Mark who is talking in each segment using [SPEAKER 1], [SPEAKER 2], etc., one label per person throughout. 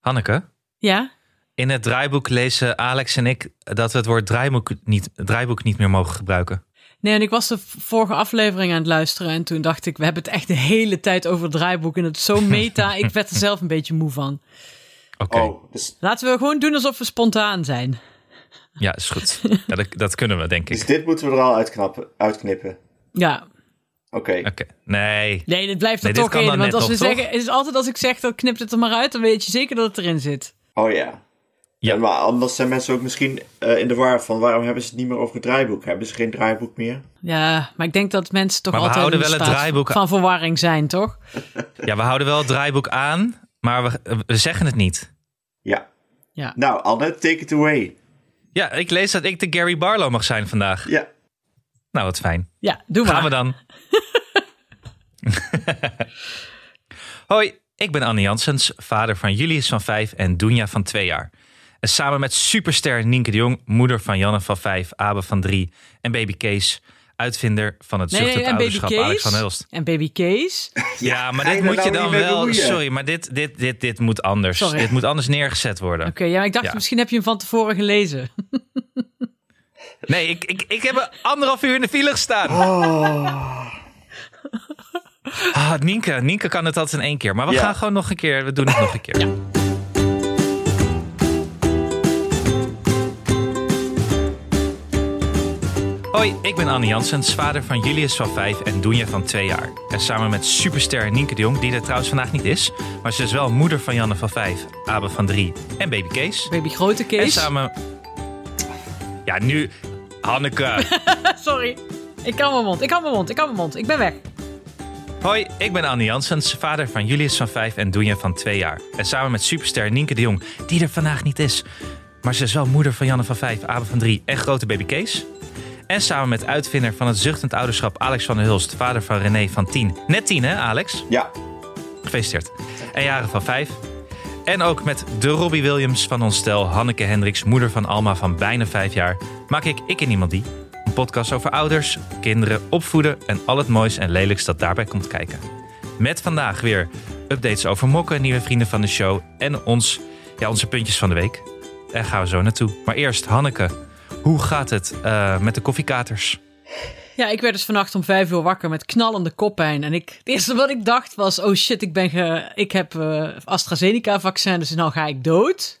[SPEAKER 1] Hanneke,
[SPEAKER 2] Ja?
[SPEAKER 1] in het draaiboek lezen Alex en ik dat we het woord draaiboek niet, draaiboek niet meer mogen gebruiken.
[SPEAKER 2] Nee, en ik was de v- vorige aflevering aan het luisteren en toen dacht ik, we hebben het echt de hele tijd over het draaiboek en het is zo meta. ik werd er zelf een beetje moe van.
[SPEAKER 1] Oké,
[SPEAKER 3] Oh, dus
[SPEAKER 2] Laten we gewoon doen alsof we spontaan zijn.
[SPEAKER 1] ja, is goed. Ja, dat, dat kunnen we, denk ik.
[SPEAKER 3] Dus dit moeten we er al uitknappen, uitknippen.
[SPEAKER 2] Ja,
[SPEAKER 3] Oké.
[SPEAKER 1] Oké, nee.
[SPEAKER 2] nee, dit blijft er
[SPEAKER 1] Nee, dit
[SPEAKER 2] toch
[SPEAKER 1] kan
[SPEAKER 2] in.
[SPEAKER 1] dan
[SPEAKER 2] Want
[SPEAKER 1] net
[SPEAKER 2] als we
[SPEAKER 1] nog, toch?
[SPEAKER 2] zeggen, het is altijd als ik zeg, dat knipt het er maar uit, dan weet je zeker dat het erin zit.
[SPEAKER 3] Oh ja.
[SPEAKER 1] Ja.
[SPEAKER 3] Ja. maar anders zijn mensen ook misschien eh, in de war van waarom hebben ze het niet meer over het draaiboek? Hebben ze geen draaiboek meer?
[SPEAKER 2] Ja, maar ik denk dat mensen toch
[SPEAKER 1] Maar we
[SPEAKER 2] altijd
[SPEAKER 1] houden
[SPEAKER 2] in
[SPEAKER 1] wel het
[SPEAKER 2] staat
[SPEAKER 1] draaiboek-
[SPEAKER 2] van verwarring zijn, toch?
[SPEAKER 1] Ja, we houden wel het draaiboek aan, maar we, we zeggen het niet.
[SPEAKER 3] Ja.
[SPEAKER 2] Ja.
[SPEAKER 3] Nou, Annette, take it away.
[SPEAKER 1] Ja, ik lees dat ik de Gary Barlow mag zijn vandaag.
[SPEAKER 3] Ja.
[SPEAKER 1] Nou, wat fijn.
[SPEAKER 2] Ja, doe maar.
[SPEAKER 1] Gaan we dan. Hoi, ik ben Anne Janssens, vader van Julius van 5 en Doenja van 2 jaar. En samen met superster Nienke de Jong, moeder van Janne van 5, Abe van 3 en baby Kees, uitvinder van het
[SPEAKER 2] Nee, nee,
[SPEAKER 1] zuchtend
[SPEAKER 2] en baby
[SPEAKER 1] ouderschap Alex van
[SPEAKER 2] Kees.
[SPEAKER 1] Elst.
[SPEAKER 2] En baby Kees.
[SPEAKER 1] Ja, maar
[SPEAKER 3] ga
[SPEAKER 1] dit
[SPEAKER 3] je er
[SPEAKER 1] moet je dan
[SPEAKER 3] nou niet mee
[SPEAKER 1] wel.
[SPEAKER 3] bemoeien?
[SPEAKER 1] Sorry, maar dit, dit, dit, dit moet anders.
[SPEAKER 2] Sorry.
[SPEAKER 1] Dit moet anders neergezet worden.
[SPEAKER 2] Oké, ja, maar ik dacht,
[SPEAKER 1] Ja.
[SPEAKER 2] misschien heb je hem van tevoren gelezen.
[SPEAKER 1] Nee, ik, ik, ik heb er anderhalf uur in de file gestaan. Ah, Nienke, Nienke kan het altijd in één keer. Maar we
[SPEAKER 3] Ja.
[SPEAKER 1] gaan gewoon nog een keer. We doen het nog een keer. Hoi, ik ben Anne Janssens, vader van Julius van 5 en Doenja van 2 jaar. En samen met superster Nienke de Jong, die er trouwens vandaag niet is. Maar ze is wel moeder van Janne van 5, Abe van 3 en baby Kees.
[SPEAKER 2] Baby grote
[SPEAKER 1] En
[SPEAKER 2] Kees.
[SPEAKER 1] samen... Ja, nu... Hanneke...
[SPEAKER 2] Sorry. Ik kan mijn mond, ik kan mijn mond, ik kan mijn mond. Ik ben weg.
[SPEAKER 1] Hoi, ik ben Anne Janssens, vader van Julius van 5 en Doenja van 2 jaar. En samen met superster Nienke de Jong, die er vandaag niet is. Maar ze is wel moeder van Janne van 5, Abe van 3 en grote baby Kees. En samen met uitvinder van het zuchtend ouderschap Alex van der Hulst, vader van René van 10. Net 10 hè, Alex?
[SPEAKER 3] Ja.
[SPEAKER 1] Gefeliciteerd. En jaren van 5. En ook met de Robbie Williams van ons stel, Hanneke Hendricks, moeder van Alma van bijna 5 jaar, maak ik Ik en Niemand Die. Een podcast over ouders, kinderen, opvoeden en al het moois en lelijks dat daarbij komt kijken. Met vandaag weer updates over mokken, nieuwe vrienden van de show en ons, ja, onze puntjes van de week. Daar gaan we zo naartoe. Maar eerst, Hanneke, hoe gaat het eh, met de koffiekaters?
[SPEAKER 2] Ja, ik werd dus vannacht om vijf uur wakker met knallende koppijn. En ik, het eerste wat ik dacht was, oh shit, ik, ben ge, ik heb eh, AstraZeneca-vaccin, dus nou ga ik dood.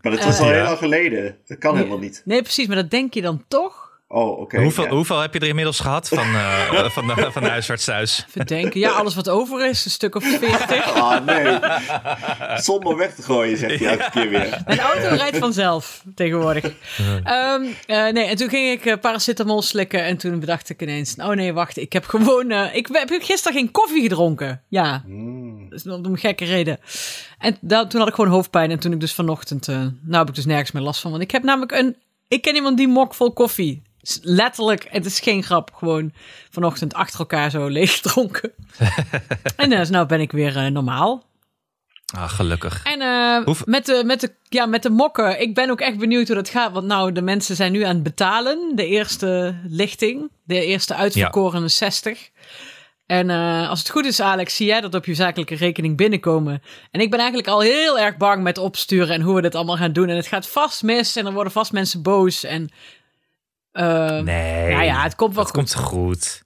[SPEAKER 3] Maar dat was al
[SPEAKER 1] Ja.
[SPEAKER 3] heel lang geleden. Dat kan helemaal niet.
[SPEAKER 2] Nee, precies, maar dat denk je dan toch?
[SPEAKER 3] Oh, oké.
[SPEAKER 1] hoeveel,
[SPEAKER 3] ja.
[SPEAKER 1] hoeveel heb je er inmiddels gehad van, eh, van, de, van de huisarts thuis?
[SPEAKER 2] Verdenken. Ja, alles wat over is, een stuk of veertig.
[SPEAKER 3] Ah, nee. Zonder weg te gooien, zegt hij elke keer weer.
[SPEAKER 2] Mijn auto rijdt vanzelf tegenwoordig. Ehm, eh, nee, en toen ging ik eh, paracetamol slikken en toen bedacht ik ineens... Oh nee, wacht, ik heb gewoon... eh, ik heb gisteren geen koffie gedronken. Ja, dat is om een gekke reden. En da- toen had ik gewoon hoofdpijn en toen ik dus vanochtend... eh, nou heb ik dus nergens meer last van, want ik heb namelijk een... Ik ken iemand die mok vol koffie. S- Letterlijk, het is geen grap, gewoon vanochtend achter elkaar zo leeg gedronken. en eh, dus nou ben ik weer eh, normaal.
[SPEAKER 1] Ah, gelukkig.
[SPEAKER 2] En eh,
[SPEAKER 1] Hoeveel-
[SPEAKER 2] met, de, met, de, ja, met de mokken, ik ben ook echt benieuwd hoe dat gaat. Want nou, de mensen zijn nu aan het betalen. De eerste lichting, de eerste uitverkorene 60. En eh, als het goed is, Alex, zie jij dat op je zakelijke rekening binnenkomen. En ik ben eigenlijk al heel erg bang met opsturen en hoe we dit allemaal gaan doen. En het gaat vast mis en er worden vast mensen boos. En eh,
[SPEAKER 1] Nee.
[SPEAKER 2] nou ja, het komt wel
[SPEAKER 1] dat
[SPEAKER 2] goed.
[SPEAKER 1] komt goed.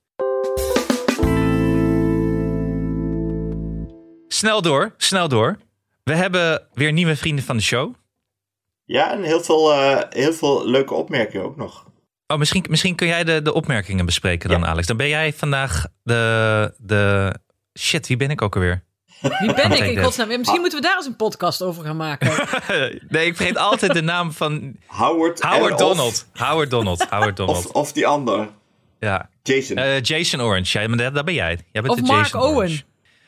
[SPEAKER 1] Snel door, snel door. We hebben weer nieuwe vrienden van de show.
[SPEAKER 3] Ja, en heel veel, eh, heel veel leuke opmerkingen ook nog.
[SPEAKER 1] Oh, misschien, misschien kun jij de, de opmerkingen bespreken dan, Alex. Dan ben jij vandaag de, de... Shit, wie ben ik ook alweer?
[SPEAKER 2] Wie ben ik
[SPEAKER 1] Take
[SPEAKER 2] in
[SPEAKER 1] that.
[SPEAKER 2] godsnaam? Ja, Misschien moeten we daar eens een podcast over gaan maken.
[SPEAKER 1] Eh, nee, ik vergeet altijd de naam van... Eh,
[SPEAKER 3] Howard, en
[SPEAKER 1] Howard
[SPEAKER 3] of-
[SPEAKER 1] Donald. Howard Donald. Howard Donald.
[SPEAKER 3] Of, of die ander,
[SPEAKER 1] ja.
[SPEAKER 3] Jason.
[SPEAKER 1] Eh, Jason Orange. Jij, maar dat, dat ben jij. jij bent
[SPEAKER 2] of
[SPEAKER 1] de
[SPEAKER 2] Mark
[SPEAKER 1] Jason
[SPEAKER 2] Owen.
[SPEAKER 1] Orange.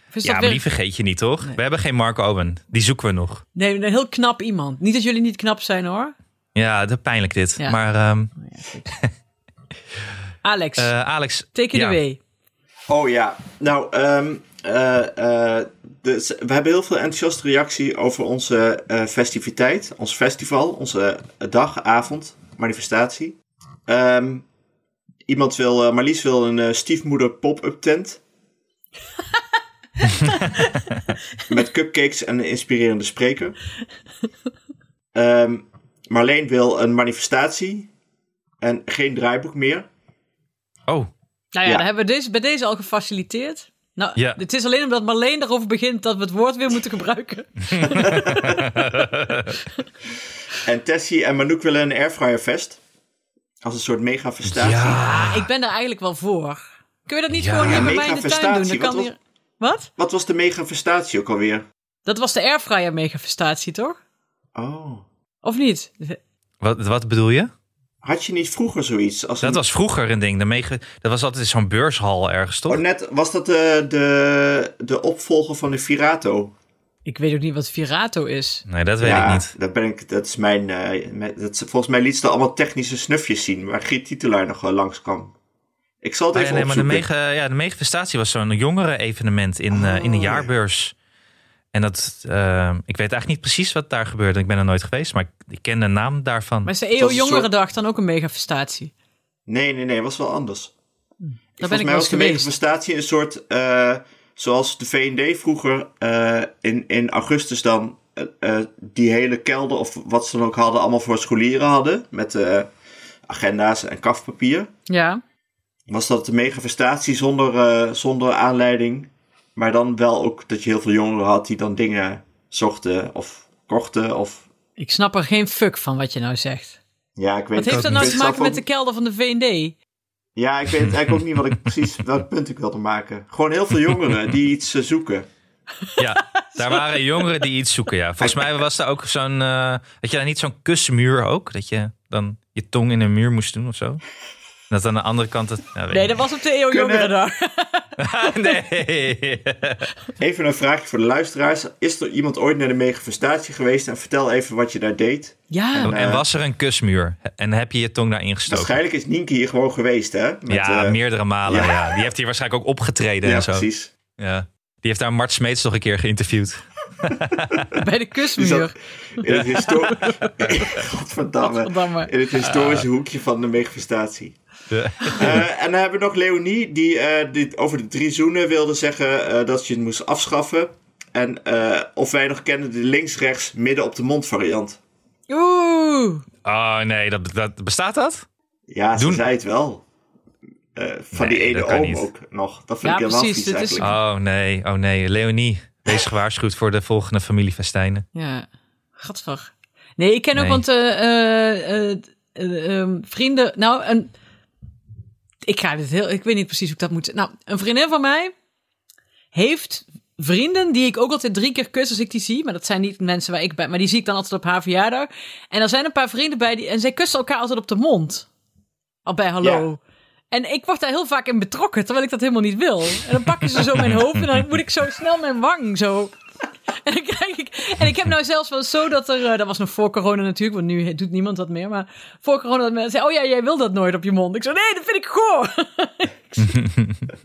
[SPEAKER 2] Of
[SPEAKER 1] Ja,
[SPEAKER 2] is dat
[SPEAKER 1] maar
[SPEAKER 2] weer
[SPEAKER 1] die vergeet je niet, toch? We hebben geen Mark Owen. Die zoeken we nog.
[SPEAKER 2] Nee, een heel knap iemand. Niet dat jullie niet knap zijn hoor.
[SPEAKER 1] Ja, dat pijnlijk dit.
[SPEAKER 2] Ja.
[SPEAKER 1] Maar ehm,
[SPEAKER 2] Alex,
[SPEAKER 1] eh, Alex.
[SPEAKER 2] take it
[SPEAKER 1] ja.
[SPEAKER 2] away.
[SPEAKER 3] Oh ja, nou, ehm, eh, eh, dus we hebben heel veel enthousiaste reactie over onze eh, festiviteit, ons festival, onze eh, dag, avond, manifestatie. Ehm, iemand wil, eh, Marlies wil een eh, stiefmoeder pop-up tent. Met cupcakes en een inspirerende spreker. Ehm, Marleen wil een manifestatie en geen draaiboek meer.
[SPEAKER 1] Oh,
[SPEAKER 2] Nou ja,
[SPEAKER 3] Ja.
[SPEAKER 2] dan hebben we deze, bij deze al gefaciliteerd. Nou,
[SPEAKER 1] Ja.
[SPEAKER 2] het is alleen omdat Marleen erover begint dat we het woord weer moeten gebruiken.
[SPEAKER 3] En Tessie en Manouk willen een airfryer vest. Als een soort mega festatie.
[SPEAKER 1] ja.
[SPEAKER 2] Ah, ik ben daar eigenlijk wel voor. Kun je dat niet
[SPEAKER 1] Ja.
[SPEAKER 2] gewoon
[SPEAKER 1] Ja,
[SPEAKER 2] hier bij mij
[SPEAKER 3] mega
[SPEAKER 2] in de tuin doen? Dan
[SPEAKER 3] festatie,
[SPEAKER 2] kan
[SPEAKER 3] wat
[SPEAKER 2] hier... Wat?
[SPEAKER 3] Wat was de mega festatie ook alweer?
[SPEAKER 2] Dat was de airfryer megafestatie, toch?
[SPEAKER 3] Oh.
[SPEAKER 2] Of niet?
[SPEAKER 1] Wat, wat bedoel je?
[SPEAKER 3] Had je niet vroeger zoiets? Als
[SPEAKER 1] Dat
[SPEAKER 3] een-
[SPEAKER 1] was vroeger een ding. De mega, dat was altijd zo'n beurshal ergens, toch?
[SPEAKER 3] Oh, net, was dat de, de, de opvolger van de Virato?
[SPEAKER 2] Ik weet ook niet wat Virato is.
[SPEAKER 1] Nee, dat weet
[SPEAKER 3] ja,
[SPEAKER 1] ik niet.
[SPEAKER 3] Dat, ben ik, dat is mijn... eh, mijn- dat, is- volgens mij liet ze allemaal technische snufjes zien... waar Giet Titelaar nog eh, langs kwam. Ik zal het
[SPEAKER 1] Ah, ja,
[SPEAKER 3] even
[SPEAKER 1] nee, maar de,
[SPEAKER 3] opzoeken.
[SPEAKER 1] mega, ja, de megafestatie was zo'n jongeren-evenement in, eh, in de
[SPEAKER 3] Oh, ja.
[SPEAKER 1] jaarbeurs. En dat, eh, ik weet eigenlijk niet precies wat daar gebeurde. Ik ben er nooit geweest, maar ik, ik ken de naam daarvan.
[SPEAKER 2] Maar is de
[SPEAKER 3] was
[SPEAKER 2] EO
[SPEAKER 3] een
[SPEAKER 2] Jongerendag dan ook een megafestatie?
[SPEAKER 3] Nee, nee, nee, was wel anders.
[SPEAKER 2] Daar ben ik wel
[SPEAKER 3] Volgens mij
[SPEAKER 2] eens
[SPEAKER 3] was de
[SPEAKER 2] geweest.
[SPEAKER 3] manifestatie een soort, eh, zoals de VND vroeger eh, in, in augustus dan eh, eh, die hele kelder of wat ze dan ook hadden, allemaal voor scholieren hadden met eh, agenda's en kafpapier.
[SPEAKER 2] Ja.
[SPEAKER 3] Was dat de megafestatie zonder, eh, zonder aanleiding, maar dan wel ook dat je heel veel jongeren had die dan dingen zochten of kochten of...
[SPEAKER 2] Ik snap er geen fuck van wat je nou zegt.
[SPEAKER 3] Ja, ik
[SPEAKER 2] Wat
[SPEAKER 3] weet
[SPEAKER 2] heeft
[SPEAKER 3] ook
[SPEAKER 2] dat
[SPEAKER 3] niet.
[SPEAKER 2] nou
[SPEAKER 3] Ik
[SPEAKER 2] te
[SPEAKER 3] snap
[SPEAKER 2] maken met de
[SPEAKER 3] ook-
[SPEAKER 2] kelder van de VND?
[SPEAKER 3] Ja, ik weet eigenlijk ook niet wat ik precies, welk punt ik wilde maken. Gewoon heel veel jongeren die iets eh, zoeken.
[SPEAKER 1] Ja, daar waren jongeren die iets zoeken, ja. Volgens mij was daar ook zo'n... eh had je daar niet zo'n kusmuur ook? Dat je dan je tong in een muur moest doen of zo? En dat aan de andere kant... Het, nou, weet
[SPEAKER 2] Nee,
[SPEAKER 1] ik
[SPEAKER 2] dat was op de EO Jongerendag.
[SPEAKER 1] nee.
[SPEAKER 3] Even een vraagje voor de luisteraars. Is er iemand ooit naar de megafestatie geweest? En vertel even wat je daar deed.
[SPEAKER 2] Ja,
[SPEAKER 1] En was er een kusmuur? En heb je je tong daarin gestoken?
[SPEAKER 3] Waarschijnlijk is Nienke hier gewoon geweest, hè? Met,
[SPEAKER 1] ja,
[SPEAKER 3] eh,
[SPEAKER 1] meerdere malen. Ja.
[SPEAKER 3] ja.
[SPEAKER 1] Die heeft hier waarschijnlijk ook opgetreden
[SPEAKER 3] Ja,
[SPEAKER 1] en zo.
[SPEAKER 3] precies.
[SPEAKER 1] Ja. Die heeft daar Mart Smeets nog een keer geïnterviewd.
[SPEAKER 2] bij de
[SPEAKER 3] Die zat
[SPEAKER 2] kusmuur.
[SPEAKER 3] in het, histo- Godverdamme.
[SPEAKER 2] Godverdamme.
[SPEAKER 3] In het historische hoekje van de megafestatie.
[SPEAKER 1] Ja.
[SPEAKER 3] Eh, en dan hebben we nog Leonie, die eh, dit over de drie zoenen wilde zeggen eh, dat je het moest afschaffen. En eh, of wij nog kennen de links-rechts midden op de mond variant.
[SPEAKER 2] Oeh.
[SPEAKER 1] Oh nee, dat, dat, bestaat dat?
[SPEAKER 3] Ja, ze
[SPEAKER 1] Doen-
[SPEAKER 3] zei het wel. Eh,
[SPEAKER 1] Nee,
[SPEAKER 3] van die ene
[SPEAKER 1] dat kan
[SPEAKER 3] oom
[SPEAKER 1] niet.
[SPEAKER 3] ook nog. Dat vind
[SPEAKER 2] Ja,
[SPEAKER 3] ik helemaal
[SPEAKER 2] precies,
[SPEAKER 3] vies
[SPEAKER 2] dit is-
[SPEAKER 3] eigenlijk.
[SPEAKER 1] Oh nee, oh nee. Leonie, wees gewaarschuwd voor de volgende familiefestijnen.
[SPEAKER 2] Ja, gadver. Nee, ik ken ook,
[SPEAKER 1] Nee.
[SPEAKER 2] want eh, eh, eh, eh, ehm, vrienden... Nou, een, ik ga dit heel... Ik weet niet precies hoe ik dat moet... Nou, een vriendin van mij heeft vrienden die ik ook altijd drie keer kus als ik die zie. Maar dat zijn niet mensen waar ik bij... Maar die zie ik dan altijd op haar verjaardag. En er zijn een paar vrienden bij die... En zij kussen elkaar altijd op de mond. Al bij hallo. En ik word daar heel vaak in betrokken, terwijl ik dat helemaal niet wil. En dan pakken ze zo mijn hoofd en dan moet ik zo snel mijn wang zo en, dan krijg ik, en ik heb nou zelfs wel zo dat er... eh, dat was nog voor corona natuurlijk, want nu doet niemand dat meer. Maar voor corona dat mensen zeiden... Oh ja, jij wil dat nooit op je mond. Ik zo, nee, dat vind ik goor.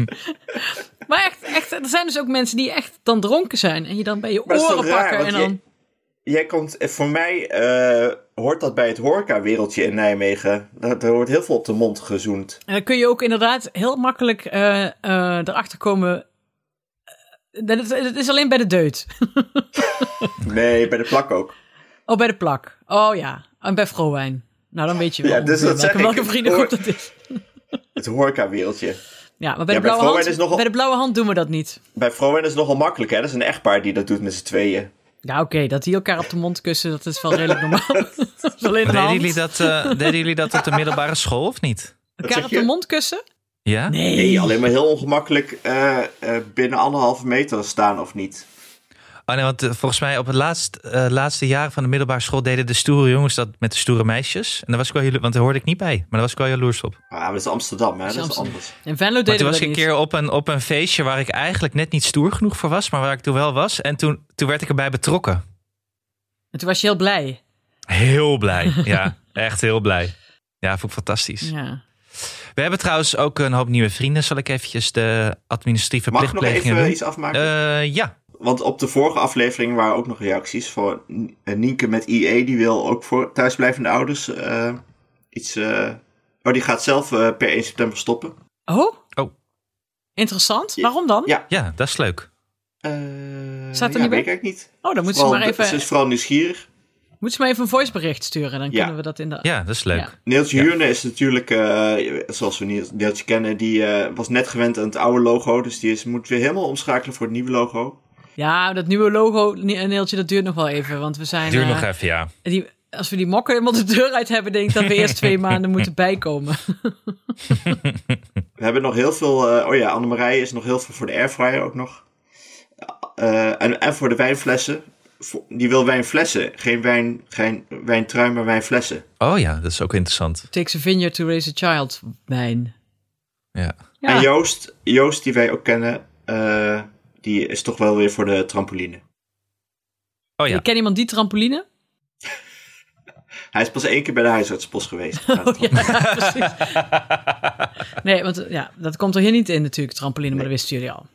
[SPEAKER 2] maar echt, echt, er zijn dus ook mensen die echt dan dronken zijn. En je dan bij je
[SPEAKER 3] Maar dat is
[SPEAKER 2] oren
[SPEAKER 3] toch raar,
[SPEAKER 2] pakken. En
[SPEAKER 3] want
[SPEAKER 2] dan,
[SPEAKER 3] Jij komt, eh, voor mij eh, hoort dat bij het horeca-wereldje in Nijmegen. Daar, daar wordt heel veel op de mond gezoend.
[SPEAKER 2] en dan kun je ook inderdaad heel makkelijk eh, eh, erachter komen... eh, dat het, het is alleen bij de deut.
[SPEAKER 3] Nee, bij de plak ook.
[SPEAKER 2] Oh, bij de plak. Oh ja, en bij Vrouwijn. Nou, dan weet je wel
[SPEAKER 3] Ja, dus
[SPEAKER 2] ongeveer
[SPEAKER 3] dat zeg
[SPEAKER 2] welke, welke
[SPEAKER 3] ik.
[SPEAKER 2] vriendengroep
[SPEAKER 3] Hoor-
[SPEAKER 2] dat is.
[SPEAKER 3] Het horeca-wereldje.
[SPEAKER 2] Ja, maar bij,
[SPEAKER 3] Ja, bij
[SPEAKER 2] de, blauwe
[SPEAKER 3] Vrouwijn
[SPEAKER 2] hand,
[SPEAKER 3] is nogal-
[SPEAKER 2] bij de blauwe hand doen we dat niet.
[SPEAKER 3] Bij Vrouwen is het nogal makkelijk, hè? Dat is een echtpaar die dat doet met z'n tweeën.
[SPEAKER 2] Ja, oké, dat die elkaar op de mond kussen, dat is wel redelijk normaal. dat is alleen een
[SPEAKER 1] Deden
[SPEAKER 2] hand.
[SPEAKER 1] jullie, dat, eh, deden jullie dat op de middelbare school of niet?
[SPEAKER 2] elkaar
[SPEAKER 3] zeg
[SPEAKER 2] op
[SPEAKER 3] je?
[SPEAKER 2] de mond kussen?
[SPEAKER 1] Ja?
[SPEAKER 2] Nee.
[SPEAKER 3] Nee, alleen maar heel ongemakkelijk eh, eh, binnen anderhalve meter staan of niet.
[SPEAKER 1] Oh nee, want eh, volgens mij op het laatst, eh, laatste jaar van de middelbare school deden de stoere jongens dat met de stoere meisjes. En daar was ik wel jalo- want daar hoorde ik niet bij, maar daar was ik wel jaloers op.
[SPEAKER 3] Ah, maar dat is Amsterdam, hè? Dat is,
[SPEAKER 2] Amsterdam.
[SPEAKER 3] anders.
[SPEAKER 2] In Venlo
[SPEAKER 1] Maar
[SPEAKER 2] deden
[SPEAKER 1] toen
[SPEAKER 2] we
[SPEAKER 1] was ik
[SPEAKER 2] dat
[SPEAKER 1] een
[SPEAKER 2] niet.
[SPEAKER 1] keer op een, op een feestje waar ik eigenlijk net niet stoer genoeg voor was, maar waar ik toen wel was. En toen, toen werd ik erbij betrokken.
[SPEAKER 2] En toen was je heel blij.
[SPEAKER 1] Heel blij. Ja, echt heel blij. Ja, vond ik fantastisch.
[SPEAKER 2] Ja.
[SPEAKER 1] We hebben trouwens ook een hoop nieuwe vrienden. Zal ik eventjes de administratieve
[SPEAKER 3] Mag ik nog
[SPEAKER 1] plichtplegingen
[SPEAKER 3] even
[SPEAKER 1] doen?
[SPEAKER 3] iets afmaken?
[SPEAKER 1] Eh, ja.
[SPEAKER 3] Want op de vorige aflevering waren ook nog reacties voor N- eh, Nienke met IE. Die wil ook voor thuisblijvende ouders eh, iets... eh oh, die gaat zelf eh, per 1 september stoppen.
[SPEAKER 2] Oh?
[SPEAKER 1] Oh.
[SPEAKER 2] Interessant. Waarom dan?
[SPEAKER 3] Ja.
[SPEAKER 1] ja, dat is leuk.
[SPEAKER 3] Eh,
[SPEAKER 2] Staat er
[SPEAKER 3] ja,
[SPEAKER 2] niet bij?
[SPEAKER 3] weet ik eigenlijk niet.
[SPEAKER 2] Oh, dan moeten ze
[SPEAKER 3] Vooral,
[SPEAKER 2] maar even,
[SPEAKER 3] Ze is vooral nieuwsgierig.
[SPEAKER 2] moeten ze maar even een voicebericht sturen. Dan
[SPEAKER 3] Ja.
[SPEAKER 2] kunnen we dat in de...
[SPEAKER 1] Ja, dat is leuk.
[SPEAKER 2] Ja.
[SPEAKER 3] Neeltje Huurne is natuurlijk, eh, zoals we Nie- Neeltje kennen, die eh, was net gewend aan het oude logo. Dus die is, moet weer helemaal omschakelen voor het nieuwe logo.
[SPEAKER 2] Ja, dat nieuwe logo, Ne- Neeltje, dat duurt nog wel even. Want we zijn...
[SPEAKER 1] Duur
[SPEAKER 2] eh,
[SPEAKER 1] nog even, ja.
[SPEAKER 2] die, als we die mokken helemaal de deur uit hebben, denk ik dat we eerst twee maanden moeten bijkomen.
[SPEAKER 3] We hebben nog heel veel, eh, oh ja, Annemarije is nog heel veel voor de airfryer ook nog. Eh, en, en voor de wijnflessen. Voor- die wil wijnflessen, geen, wijn, geen wijntrui, maar wijnflessen.
[SPEAKER 1] Oh ja, dat is ook interessant.
[SPEAKER 2] Takes a vineyard to raise a child, wijn.
[SPEAKER 1] Ja.
[SPEAKER 2] Ja.
[SPEAKER 3] En Joost, Joost, die wij ook kennen, eh, die is toch wel weer voor de trampoline.
[SPEAKER 1] Oh ja.
[SPEAKER 2] Ik ken iemand die trampoline.
[SPEAKER 3] Hij is pas één keer bij de huisartspost geweest.
[SPEAKER 2] Oh, Ja, precies. Nee, want eh, ja, dat komt er hier niet in natuurlijk, trampoline, maar dat wisten jullie al.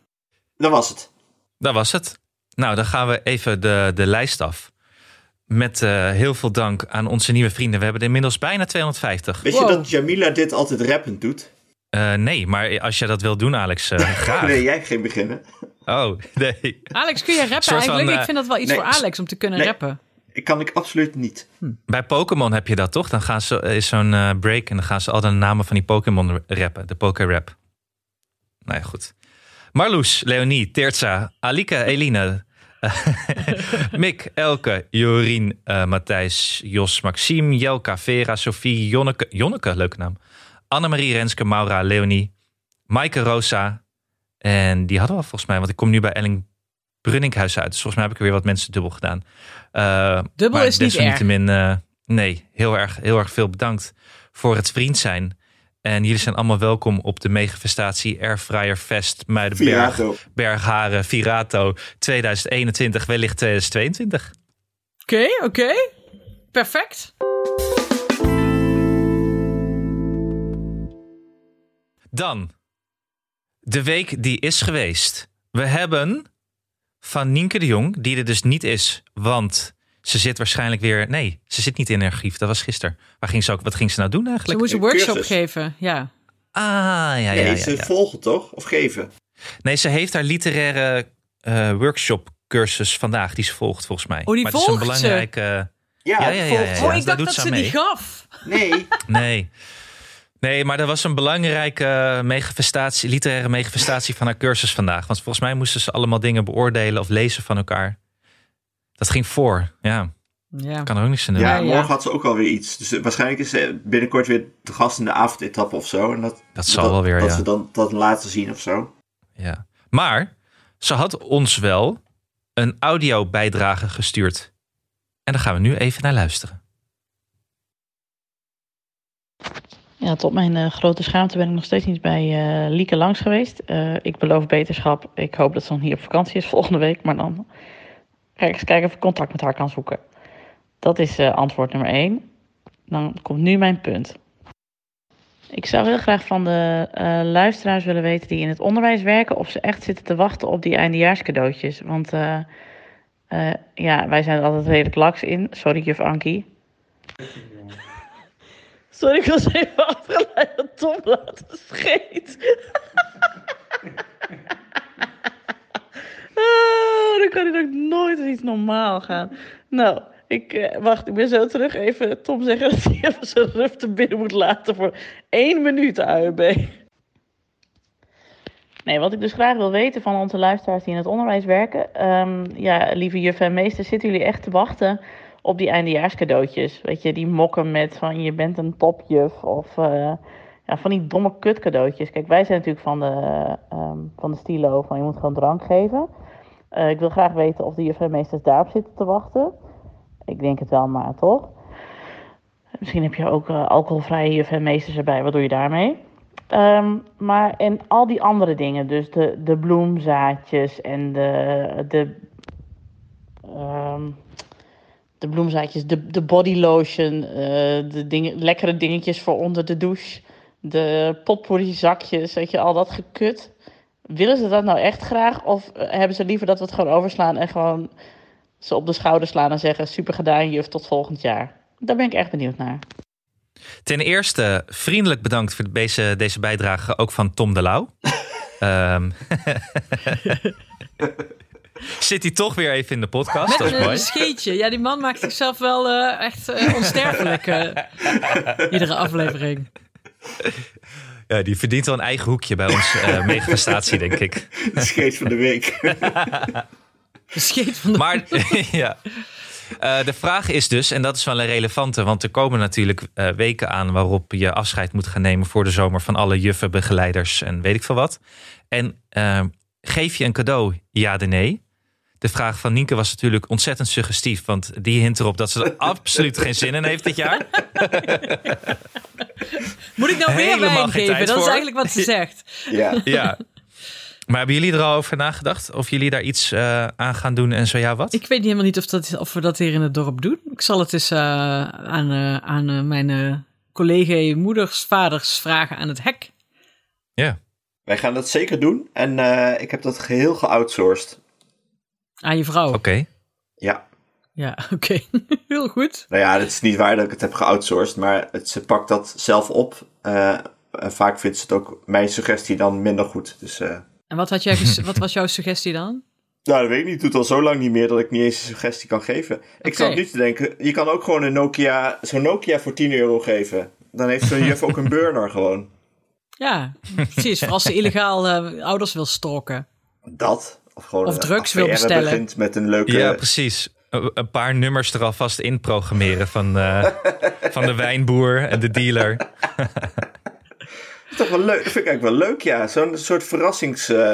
[SPEAKER 3] Dat was het.
[SPEAKER 1] Dat was het. Nou, dan gaan we even de, de lijst af. Met eh, heel veel dank aan onze nieuwe vrienden. We hebben er inmiddels bijna 250.
[SPEAKER 3] Weet
[SPEAKER 2] Wow.
[SPEAKER 3] je dat Jamila dit altijd rappend doet?
[SPEAKER 1] Eh, nee, maar als je dat wil doen, Alex, eh, graag.
[SPEAKER 3] Nee, jij ging beginnen.
[SPEAKER 1] Oh, nee.
[SPEAKER 2] Alex, kun je rappen
[SPEAKER 1] Soort van,
[SPEAKER 2] eigenlijk?
[SPEAKER 1] eh,
[SPEAKER 2] ik vind dat wel iets
[SPEAKER 3] nee,
[SPEAKER 2] voor Alex om te kunnen
[SPEAKER 3] nee.
[SPEAKER 2] rappen.
[SPEAKER 3] Ik kan ik absoluut niet.
[SPEAKER 1] Bij Pokémon heb je dat toch? Dan gaan ze, is zo'n eh, break en dan gaan ze al de namen van die Pokémon rappen. De Poké-rap. Nou ja, goed. Marloes, Leonie, Teertsa, Alika, Eline, eh, Mick, Elke, Jorien, eh, Matthijs, Jos, Maxime, Jelka, Vera, Sophie, Jonneke, Jonneke, leuke naam. Annemarie, Renske, Maura, Leonie, Maaike, Rosa. En die hadden we al volgens mij, want ik kom nu bij Elling Brunninkhuis uit. Dus volgens mij heb ik er weer wat mensen dubbel gedaan. Eh,
[SPEAKER 2] Dubbel
[SPEAKER 1] maar
[SPEAKER 2] is niet
[SPEAKER 1] desalniettemin, eh, nee, heel erg, heel erg veel bedankt voor het vriend zijn. En jullie zijn allemaal welkom op de megafestatie Airfryer Fest Muidenberg,
[SPEAKER 3] Virato.
[SPEAKER 1] Bergharen, Virato 2021, wellicht 2022.
[SPEAKER 2] Oké, oké. Perfect.
[SPEAKER 1] Dan, de week die is geweest. We hebben van Nienke de Jong, die er dus niet is, want ze zit waarschijnlijk weer... Nee, ze zit niet in haar archief, dat was gisteren. Waar ging ze ook, wat ging ze nou doen
[SPEAKER 2] Ze
[SPEAKER 1] eigenlijk?
[SPEAKER 2] moest een
[SPEAKER 3] een
[SPEAKER 2] workshop
[SPEAKER 3] cursus.
[SPEAKER 2] geven, ja.
[SPEAKER 1] Ah, ja, ja, ja,
[SPEAKER 3] Nee,
[SPEAKER 1] ja.
[SPEAKER 3] ze volgen toch? Of geven?
[SPEAKER 1] Nee, ze heeft haar literaire eh, workshop cursus vandaag, die ze volgt volgens mij.
[SPEAKER 2] Oh, die
[SPEAKER 1] maar
[SPEAKER 2] volgt
[SPEAKER 1] het
[SPEAKER 2] ze?
[SPEAKER 1] is een belangrijke...
[SPEAKER 3] Ja,
[SPEAKER 1] Ja,
[SPEAKER 3] die
[SPEAKER 1] ja, ja,
[SPEAKER 3] volgt
[SPEAKER 1] ja,
[SPEAKER 3] ze.
[SPEAKER 1] ja.
[SPEAKER 2] oh, ik
[SPEAKER 1] daar
[SPEAKER 2] dacht
[SPEAKER 1] doet
[SPEAKER 2] dat
[SPEAKER 1] ze
[SPEAKER 2] ze,
[SPEAKER 1] aan mee.
[SPEAKER 2] die gaf.
[SPEAKER 3] Nee,
[SPEAKER 1] Nee. Nee, maar er was een belangrijke eh, megafestatie, literaire megafestatie van haar cursus vandaag. Want volgens mij moesten ze allemaal dingen beoordelen of lezen van elkaar. Dat ging voor. Ja,
[SPEAKER 2] Ja.
[SPEAKER 1] kan er ook niks aan doen.
[SPEAKER 3] ja,
[SPEAKER 2] ja.
[SPEAKER 3] morgen had ze ook alweer iets. Dus eh, waarschijnlijk is ze binnenkort weer de gast in de avondetappe of zo. En dat,
[SPEAKER 1] Dat zal wel weer,
[SPEAKER 3] Dat
[SPEAKER 1] ja.
[SPEAKER 3] ze dan dat laten zien of zo.
[SPEAKER 1] Ja. Maar ze had ons wel een audiobijdrage gestuurd. En daar gaan we nu even naar luisteren.
[SPEAKER 4] Ja, tot mijn eh, grote schaamte ben ik nog steeds niet bij eh, Lieke langs geweest. Eh, ik beloof beterschap. Ik hoop dat ze nog niet op vakantie is volgende week. Maar dan ga ik eens kijken of ik contact met haar kan zoeken. Dat is eh, antwoord nummer één. Dan komt nu mijn punt. Ik zou heel graag van de eh, luisteraars willen weten die in het onderwijs werken... of ze echt zitten te wachten op die eindejaarscadeautjes. Want eh, eh, ja, wij zijn er altijd redelijk laks in. Sorry, juf Ankie. Sorry, ik was even afgeleid dat Tom laten scheet. oh, dan kan het ook nooit weer iets normaal gaan. Nou, ik, eh, wacht, ik ben zo terug. Even Tom zeggen dat hij even zijn ruf te binnen moet laten voor één minuut AUB. Nee, wat ik dus graag wil weten van onze luisteraars die in het onderwijs werken. ehm, ja, lieve juf en meester, zitten jullie echt te wachten op die eindejaarscadeautjes. Weet je, die mokken met van je bent een topjuf of eh, ja, van die domme kutcadeautjes. Kijk, wij zijn natuurlijk van de, ehm, van de stilo van je moet gewoon drank geven. Eh, ik wil graag weten of de juf en meesters daarop zitten te wachten. Ik denk het wel, maar toch. Misschien heb je ook eh, alcoholvrije juf en meesters erbij. Wat doe je daarmee? Ehm, maar en al die andere dingen, dus de, de bloemzaadjes en de, de ehm, de bloemzaadjes, de, de body lotion, eh, de dingen, lekkere dingetjes voor onder de douche, de potpourri zakjes, weet je, al dat gekut. Willen ze dat nou echt graag of eh, hebben ze liever dat we het gewoon overslaan en gewoon ze op de schouder slaan en zeggen super gedaan juf, tot volgend jaar. Daar ben ik echt benieuwd naar.
[SPEAKER 1] Ten eerste, vriendelijk bedankt voor deze, deze bijdrage, ook van Tom de Lauw. Ehm, Zit hij toch weer even in de podcast? dat is
[SPEAKER 2] Met
[SPEAKER 1] mooi.
[SPEAKER 2] een scheetje. Ja, die man maakt zichzelf wel eh, echt eh, onsterfelijk. eh, iedere aflevering.
[SPEAKER 1] Ja, die verdient wel een eigen hoekje bij ons eh megafestatie, denk ik.
[SPEAKER 3] De scheet van de week.
[SPEAKER 2] De scheet van de...
[SPEAKER 1] Maar ja. Eh, de vraag is dus, en dat is wel een relevante, want er komen natuurlijk eh, weken aan waarop je afscheid moet gaan nemen voor de zomer van alle juffen, begeleiders en weet ik veel wat. En eh, geef je een cadeau, ja de nee? De vraag van Nienke was natuurlijk ontzettend suggestief, want die hint erop dat ze er absoluut geen zin in heeft dit jaar.
[SPEAKER 2] Moet ik nou weer
[SPEAKER 1] helemaal geen
[SPEAKER 2] wijn geven?
[SPEAKER 1] tijd
[SPEAKER 2] Dat is
[SPEAKER 1] voor.
[SPEAKER 2] eigenlijk wat ze zegt.
[SPEAKER 3] Ja.
[SPEAKER 1] Ja. Maar hebben jullie er al over nagedacht? Of jullie daar iets eh, aan gaan doen en zo ja wat?
[SPEAKER 2] Ik weet helemaal niet of, dat, of we dat hier in het dorp doen. Ik zal het eens eh, aan, eh, aan eh, mijn eh, collega moeders, vaders vragen aan het hek.
[SPEAKER 1] Ja.
[SPEAKER 3] Wij gaan dat zeker doen. En eh, ik heb dat geheel geoutsourced.
[SPEAKER 2] Aan je vrouw.
[SPEAKER 1] Oké.
[SPEAKER 3] Ja.
[SPEAKER 2] Ja, oké. Heel goed.
[SPEAKER 3] Nou ja, het is niet waar dat ik het heb geoutsourced. Maar het, ze pakt dat zelf op. Eh, en vaak vindt ze het ook mijn suggestie dan minder goed. Dus eh,
[SPEAKER 2] En wat, had jij ges- wat was jouw suggestie dan?
[SPEAKER 3] Nou, dat weet ik niet. Het doet al zo lang niet meer dat ik niet eens een suggestie kan geven. Ik zat
[SPEAKER 2] Oké.
[SPEAKER 3] nu te denken, je kan ook gewoon een Nokia, zo'n Nokia voor 10 euro geven. Dan heeft zo'n juf ook een burner gewoon.
[SPEAKER 2] Ja, precies. Voor als ze illegaal eh, ouders wil stalken.
[SPEAKER 3] Dat. Of gewoon
[SPEAKER 2] Of
[SPEAKER 3] een
[SPEAKER 2] drugs wil
[SPEAKER 3] affaire
[SPEAKER 2] bestellen.
[SPEAKER 3] begint met een leuke...
[SPEAKER 1] Ja, precies. Een een paar nummers er alvast in programmeren van, eh, van de wijnboer en de dealer.
[SPEAKER 3] toch wel leuk. Dat vind ik eigenlijk wel leuk, ja. Zo'n soort verrassings... eh,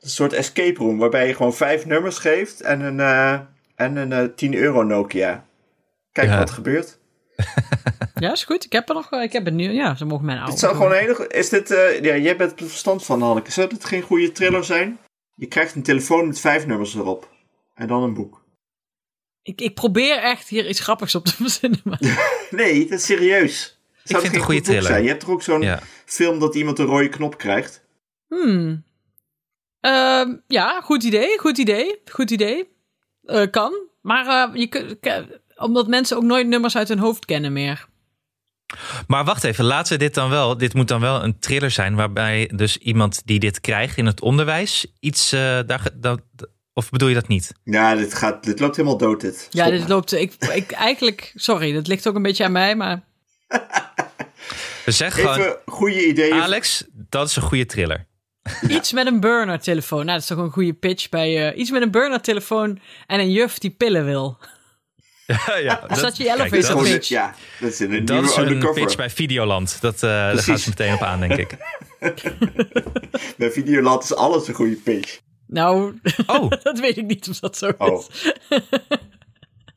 [SPEAKER 3] een soort escape room waarbij je gewoon vijf nummers geeft en een, eh, en een eh, 10 euro Nokia. Kijk
[SPEAKER 1] Ja.
[SPEAKER 3] wat er gebeurt.
[SPEAKER 2] Ja, is goed. Ik heb er nog. eh, Ik heb het nu. Ja, ze mogen mijn
[SPEAKER 3] Het
[SPEAKER 2] ouders.
[SPEAKER 3] zou gewoon een hele... go- Is dit... eh, ja, jij bent er verstand van, Hanneke. Zou dit geen goede thriller zijn? Je krijgt een telefoon met vijf nummers erop. En dan een boek.
[SPEAKER 2] Ik, ik probeer echt hier iets grappigs op te verzinnen. Maar...
[SPEAKER 3] Nee, dat is serieus. Zou
[SPEAKER 1] vind het
[SPEAKER 3] geen
[SPEAKER 1] een goede
[SPEAKER 3] goed boek
[SPEAKER 1] thriller.
[SPEAKER 3] Zijn? Je hebt toch ook zo'n
[SPEAKER 1] Ja.
[SPEAKER 3] film dat iemand een rode knop krijgt?
[SPEAKER 2] Hmm. Ehm, ja, goed idee. Goed idee. Goed idee. Eh, kan. Maar eh, je kunt, ke- omdat mensen ook nooit nummers uit hun hoofd kennen meer.
[SPEAKER 1] Maar wacht even, laten we dit dan wel. Dit moet dan wel een thriller zijn waarbij dus iemand die dit krijgt in het onderwijs iets eh, daar, ge- dat, of bedoel je dat niet?
[SPEAKER 3] Ja, dit, gaat, dit loopt helemaal dood, dit. Stop
[SPEAKER 2] ja, dit
[SPEAKER 3] maar.
[SPEAKER 2] loopt. Ik, ik eigenlijk. Sorry, dat ligt ook een beetje aan mij. Maar
[SPEAKER 1] We zeggen gewoon,
[SPEAKER 3] Even goede ideeën.
[SPEAKER 1] Alex, dat is een goede thriller.
[SPEAKER 2] iets met een burner telefoon. Nou, dat is toch een goede pitch bij. eh, iets met een burner telefoon en een juf die pillen wil.
[SPEAKER 1] ja,
[SPEAKER 2] dat je elf
[SPEAKER 1] kijk,
[SPEAKER 2] is,
[SPEAKER 3] dat is gewoon
[SPEAKER 2] een
[SPEAKER 3] een-
[SPEAKER 2] pitch.
[SPEAKER 3] Ja, dat is een
[SPEAKER 1] Dat
[SPEAKER 3] nieuwe
[SPEAKER 1] is een
[SPEAKER 3] undercover.
[SPEAKER 1] pitch bij Videoland. Dat, eh, daar gaan
[SPEAKER 3] Precies.
[SPEAKER 1] ze meteen op aan, denk ik.
[SPEAKER 3] Bij Videoland is alles een goede pitch.
[SPEAKER 2] Nou,
[SPEAKER 1] Oh,
[SPEAKER 2] dat weet ik niet of dat zo
[SPEAKER 3] Oh,
[SPEAKER 2] is. Nou,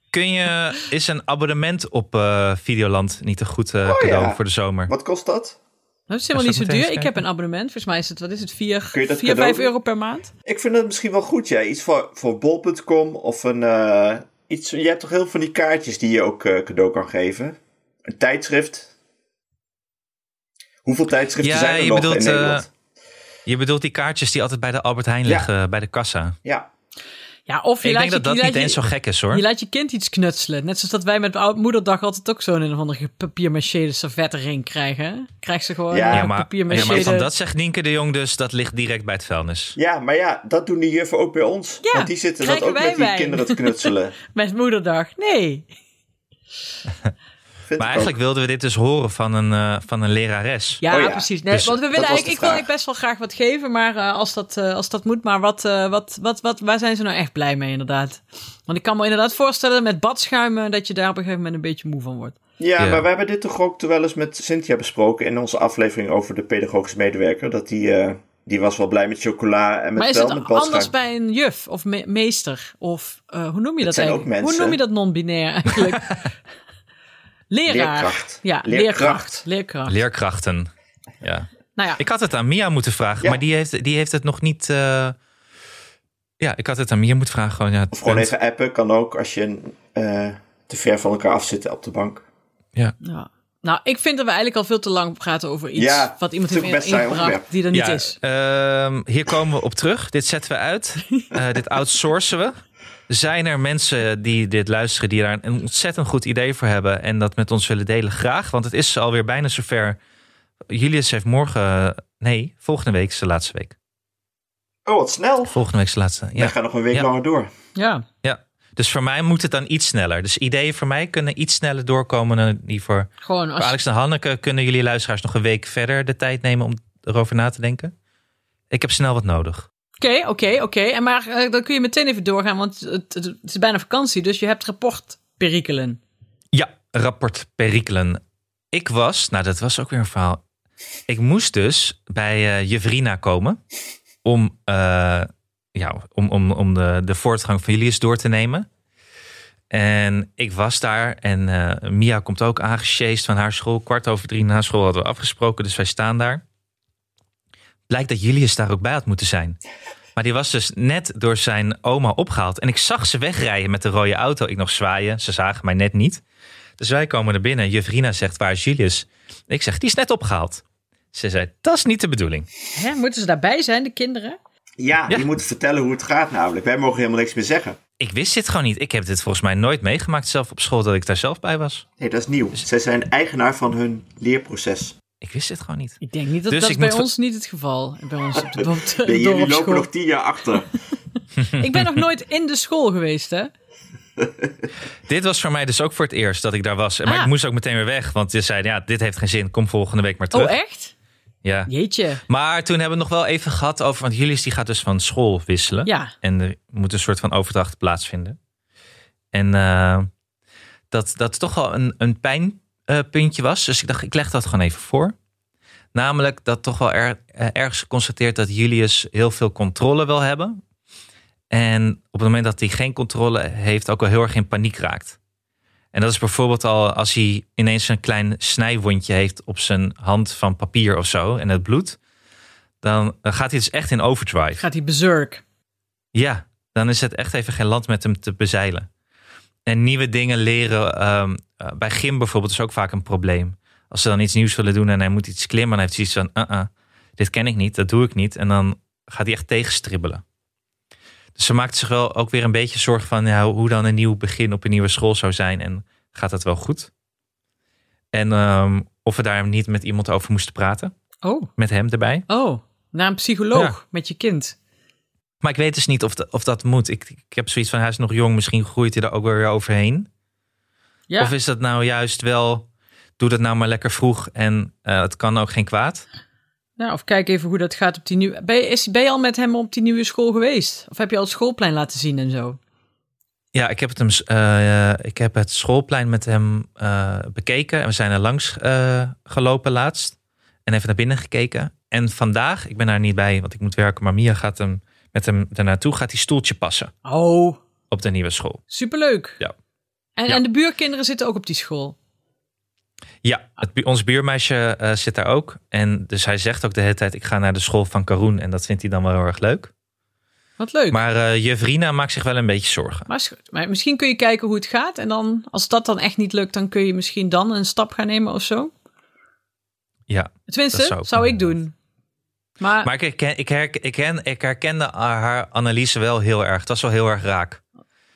[SPEAKER 1] kun je, is een abonnement op eh, Videoland niet een goed eh,
[SPEAKER 3] Oh,
[SPEAKER 1] cadeau
[SPEAKER 3] ja.
[SPEAKER 1] voor de zomer?
[SPEAKER 3] wat kost dat?
[SPEAKER 2] Dat is helemaal
[SPEAKER 1] Ja, zal
[SPEAKER 2] niet zo
[SPEAKER 1] ik meteen
[SPEAKER 2] duur.
[SPEAKER 1] eens
[SPEAKER 2] Ik heb een abonnement. Volgens mij is het, wat is het, 4,
[SPEAKER 3] Kun je dat
[SPEAKER 2] 4
[SPEAKER 3] cadeau
[SPEAKER 2] 5
[SPEAKER 3] doen?
[SPEAKER 2] euro per maand?
[SPEAKER 3] Ik vind dat misschien wel goed, ja. Iets voor, voor bol.com of een... eh, iets, je hebt toch heel veel van die kaartjes die je ook eh, cadeau kan geven? Een tijdschrift? Hoeveel tijdschriften
[SPEAKER 1] Ja,
[SPEAKER 3] zijn er
[SPEAKER 1] je
[SPEAKER 3] nog
[SPEAKER 1] bedoelt,
[SPEAKER 3] in
[SPEAKER 1] eh,
[SPEAKER 3] Nederland?
[SPEAKER 1] Je bedoelt die kaartjes die altijd bij de Albert Heijn
[SPEAKER 3] Ja.
[SPEAKER 1] liggen, eh, bij de kassa.
[SPEAKER 3] Ja,
[SPEAKER 2] Ja, of je
[SPEAKER 1] ik
[SPEAKER 2] laat
[SPEAKER 1] denk
[SPEAKER 2] je,
[SPEAKER 1] dat dat
[SPEAKER 2] je, laat
[SPEAKER 1] niet
[SPEAKER 2] je,
[SPEAKER 1] eens zo gek is
[SPEAKER 2] je
[SPEAKER 1] hoor.
[SPEAKER 2] laat je kind iets knutselen. Net zoals dat wij met oud moederdag altijd ook zo'n een of andere papier-maché servettenring krijgen. Krijgt ze gewoon eh,
[SPEAKER 3] Ja,
[SPEAKER 2] ja,
[SPEAKER 1] Ja, maar, ja,
[SPEAKER 2] papier-maché.
[SPEAKER 1] maar van
[SPEAKER 2] de-
[SPEAKER 1] dat zegt Nienke de Jong dus, dat ligt direct bij het vuilnis.
[SPEAKER 3] Ja, maar ja, dat doen die juffen ook bij ons.
[SPEAKER 2] Ja,
[SPEAKER 3] Want die zitten dat
[SPEAKER 2] krijgen
[SPEAKER 3] ook
[SPEAKER 2] wij
[SPEAKER 3] met die
[SPEAKER 2] wijn.
[SPEAKER 3] kinderen te knutselen.
[SPEAKER 2] Met moederdag. Nee.
[SPEAKER 3] Vind
[SPEAKER 1] Maar
[SPEAKER 3] ik ook.
[SPEAKER 1] eigenlijk wilden we dit dus horen van een, eh, van een lerares.
[SPEAKER 2] Ja,
[SPEAKER 3] Oh ja,
[SPEAKER 2] precies. Nee,
[SPEAKER 1] dus
[SPEAKER 2] want we
[SPEAKER 3] dat
[SPEAKER 2] willen
[SPEAKER 3] was
[SPEAKER 2] eigenlijk,
[SPEAKER 3] de
[SPEAKER 2] ik wil eigenlijk
[SPEAKER 3] vraag.
[SPEAKER 2] best wel graag wat geven, maar eh, als, dat, eh, als dat moet, maar wat, eh, wat, wat, wat, waar zijn ze nou echt blij mee inderdaad? Want ik kan me inderdaad voorstellen met badschuimen dat je daar op een gegeven moment een beetje moe van wordt.
[SPEAKER 3] Ja,
[SPEAKER 1] Ja.
[SPEAKER 3] maar we hebben dit toch ook wel eens met Cynthia besproken in onze aflevering over de pedagogische medewerker. Dat die, eh, die was wel blij met chocola en met
[SPEAKER 2] Maar is
[SPEAKER 3] wel
[SPEAKER 2] het
[SPEAKER 3] met boterham.
[SPEAKER 2] anders bij een juf of me- meester? Of eh, hoe noem je dat
[SPEAKER 3] zijn ook
[SPEAKER 2] eigenlijk? Hoe
[SPEAKER 3] mensen.
[SPEAKER 2] noem je dat non-binair eigenlijk? Leraar.
[SPEAKER 3] Leerkracht.
[SPEAKER 2] Ja,
[SPEAKER 3] Leerkracht.
[SPEAKER 2] leerkracht. Leerkracht.
[SPEAKER 1] Leerkrachten. Ja.
[SPEAKER 2] nou ja,
[SPEAKER 1] Ik had het aan Mia moeten vragen,
[SPEAKER 3] Ja.
[SPEAKER 1] maar die heeft, die heeft het nog niet... eh, Ja, ik had het aan Mia moeten vragen. Gewoon, ja, het
[SPEAKER 3] Of gewoon
[SPEAKER 1] punt.
[SPEAKER 3] even appen kan ook als je eh, te ver van elkaar afzit op de bank.
[SPEAKER 2] ja. Nou, ik vind dat we eigenlijk al veel te lang praten over iets
[SPEAKER 3] Ja,
[SPEAKER 2] wat iemand
[SPEAKER 3] het is
[SPEAKER 2] heeft
[SPEAKER 3] ook best saai
[SPEAKER 2] ingebracht
[SPEAKER 3] onderwerp.
[SPEAKER 2] die er niet
[SPEAKER 1] Ja,
[SPEAKER 2] is.
[SPEAKER 1] ehm, hier komen we op terug. Dit zetten we uit. Eh, dit outsourcen we. Zijn er mensen die dit luisteren, die daar een ontzettend goed idee voor hebben en dat met ons willen delen? Graag, want het is alweer bijna eh, zover. Julius heeft morgen, nee, volgende week is de laatste week.
[SPEAKER 3] Oh, wat snel.
[SPEAKER 1] Volgende week is de laatste.
[SPEAKER 3] Ja.
[SPEAKER 1] Ja.
[SPEAKER 3] We gaan nog een week
[SPEAKER 1] Ja.
[SPEAKER 3] langer door.
[SPEAKER 2] Ja.
[SPEAKER 1] ja. Dus voor mij moet het dan iets sneller. Dus ideeën voor mij kunnen iets sneller doorkomen dan die voor,
[SPEAKER 2] Gewoon
[SPEAKER 1] voor
[SPEAKER 2] als
[SPEAKER 1] Alex en Hanneke. Kunnen jullie luisteraars nog een week verder de tijd nemen om erover na te denken? Ik heb snel wat nodig.
[SPEAKER 2] Oké, oké, oké. En maar eh, dan kun je meteen even doorgaan, want het, het, het is bijna vakantie, dus je hebt rapportperikelen.
[SPEAKER 1] Ja, rapport perikelen. Ik was, nou dat was ook weer een verhaal. Ik moest dus bij eh, Jevrina komen om, eh, ja, om, om, om de, de voortgang van Julius door te nemen. En ik was daar en eh, Mia komt ook aangesjeest van haar school. Kwart over drie na school hadden we afgesproken, dus wij staan daar. Blijkt dat Julius daar ook bij had moeten zijn. Maar die was dus net door zijn oma opgehaald. En ik zag ze wegrijden met de rode auto. Ik nog zwaaien, ze zagen mij net niet. Dus wij komen er binnen. Jevrina zegt, waar is Julius? Ik zeg, die is net opgehaald. Ze zei, dat is niet de bedoeling.
[SPEAKER 2] Hè, moeten ze daarbij zijn, de kinderen?
[SPEAKER 3] Ja,
[SPEAKER 1] Ja.
[SPEAKER 3] je moet vertellen hoe het gaat namelijk. Wij mogen helemaal niks meer zeggen.
[SPEAKER 1] Ik wist dit gewoon niet. Ik heb dit volgens mij nooit meegemaakt zelf op school dat ik daar zelf bij was.
[SPEAKER 3] Nee, dat is nieuw.
[SPEAKER 1] Dus-
[SPEAKER 3] Zij zijn eigenaar van hun leerproces.
[SPEAKER 1] Ik wist dit gewoon niet.
[SPEAKER 2] Ik denk niet dat
[SPEAKER 1] Dus
[SPEAKER 2] dat
[SPEAKER 1] ik
[SPEAKER 2] is bij
[SPEAKER 1] moet ver-
[SPEAKER 2] ons niet het geval. Bij ons op de, op de
[SPEAKER 3] Nee, jullie lopen
[SPEAKER 2] dorpsschool.
[SPEAKER 3] nog tien jaar achter.
[SPEAKER 2] Ik ben nog nooit in de school geweest, hè? Oh,
[SPEAKER 1] Dit was voor mij dus ook voor het eerst dat ik daar was. Maar
[SPEAKER 2] Ah.
[SPEAKER 1] ik moest ook meteen weer weg. Want ze zeiden, ja, dit heeft geen zin. Kom volgende week maar terug.
[SPEAKER 2] Oh, echt?
[SPEAKER 1] Ja.
[SPEAKER 2] Jeetje.
[SPEAKER 1] Maar toen hebben we het nog wel even gehad over... Want Julius die gaat dus van school wisselen.
[SPEAKER 2] Ja.
[SPEAKER 1] En er moet een soort van overdracht plaatsvinden. En eh, dat, dat toch wel een, een pijnpuntje was. Dus ik dacht, ik leg dat gewoon even voor. Namelijk dat toch wel er, eh, ergens geconstateerd dat Julius heel veel controle wil hebben. En op het moment dat hij geen controle heeft, ook wel heel erg in paniek raakt. En dat is bijvoorbeeld al als hij ineens een klein snijwondje heeft op zijn hand van papier of zo en het bloed. Dan dan gaat hij dus echt in overdrive.
[SPEAKER 2] Gaat die bezurk.
[SPEAKER 1] Ja, dan is het echt even geen land met hem te bezeilen. En nieuwe dingen leren. ehm, eh, bij gym bijvoorbeeld is ook vaak een probleem. Als ze dan iets nieuws willen doen en hij moet iets klimmen, dan heeft hij iets van: uh dit ken ik niet, dat doe ik niet. En dan gaat hij echt tegenstribbelen. Dus ze maakt zich wel ook weer een beetje zorgen van ja, hoe dan een nieuw begin op een nieuwe school zou zijn. En gaat dat wel goed? En ehm, of we daar niet met iemand over moesten praten,
[SPEAKER 2] Oh,
[SPEAKER 1] met hem erbij.
[SPEAKER 2] oh. Naar een psycholoog
[SPEAKER 1] Ja.
[SPEAKER 2] met je kind.
[SPEAKER 1] Maar ik weet dus niet of, da- of dat moet. Ik, ik heb zoiets van, hij is nog jong, misschien groeit hij er ook wel weer overheen.
[SPEAKER 2] Ja.
[SPEAKER 1] Of is dat nou juist wel, doe dat nou maar lekker vroeg en eh, het kan ook geen kwaad.
[SPEAKER 2] Nou, of kijk even hoe dat gaat op die nieuwe... Ben je, is, ben je al met hem op die nieuwe school geweest? Of heb je al het schoolplein laten zien en zo?
[SPEAKER 1] Ja, ik heb het, hem, s- eh, ik heb het schoolplein met hem eh, bekeken. En we zijn er langs eh, gelopen laatst. En even naar binnen gekeken. En vandaag, ik ben daar niet bij, want ik moet werken. Maar Mia gaat hem, met hem daarnaartoe, gaat die stoeltje passen
[SPEAKER 2] Oh,
[SPEAKER 1] op de nieuwe school.
[SPEAKER 2] superleuk.
[SPEAKER 1] Ja.
[SPEAKER 2] En,
[SPEAKER 1] Ja.
[SPEAKER 2] en de buurkinderen zitten ook op die school.
[SPEAKER 1] Ja, het, bu- ons buurmeisje eh, zit daar ook. En dus hij zegt ook de hele tijd: ik ga naar de school van Karoen. En dat vindt hij dan wel heel erg leuk.
[SPEAKER 2] Wat leuk.
[SPEAKER 1] Maar eh Jevrina maakt zich wel een beetje zorgen.
[SPEAKER 2] Maar, is- maar misschien kun je kijken hoe het gaat. En dan, als dat dan echt niet lukt, dan kun je misschien dan een stap gaan nemen of zo.
[SPEAKER 1] Ja,
[SPEAKER 2] Tenminste,
[SPEAKER 1] Dat
[SPEAKER 2] zou,
[SPEAKER 1] zou
[SPEAKER 2] ik
[SPEAKER 1] kunnen,
[SPEAKER 2] doen. Maar,
[SPEAKER 1] maar ik herken, ik, herken, ik, herken- ik herkende haar, haar analyse wel heel erg. Het was wel heel erg raak.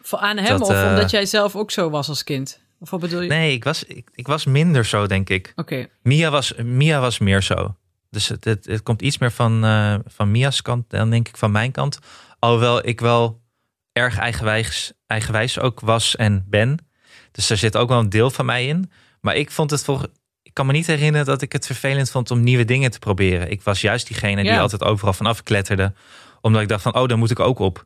[SPEAKER 2] voor aan hem
[SPEAKER 1] dat,
[SPEAKER 2] of
[SPEAKER 1] eh,
[SPEAKER 2] omdat jij zelf ook zo was als kind? Of wat bedoel je?
[SPEAKER 1] Nee, ik was, ik, ik was minder zo, denk ik.
[SPEAKER 2] Oké,
[SPEAKER 1] Mia was, Mia was meer zo. Dus het, het, het komt iets meer van, eh, van Mia's kant dan denk ik van mijn kant. Alhoewel ik wel erg eigenwijs, eigenwijs ook was en ben. Dus daar zit ook wel een deel van mij in. Maar ik vond het volgens... Ik kan me niet herinneren dat ik het vervelend vond om nieuwe dingen te proberen. Ik was juist diegene die
[SPEAKER 2] Ja.
[SPEAKER 1] altijd overal van afkletterde. Omdat ik dacht van, oh, daar moet ik ook op.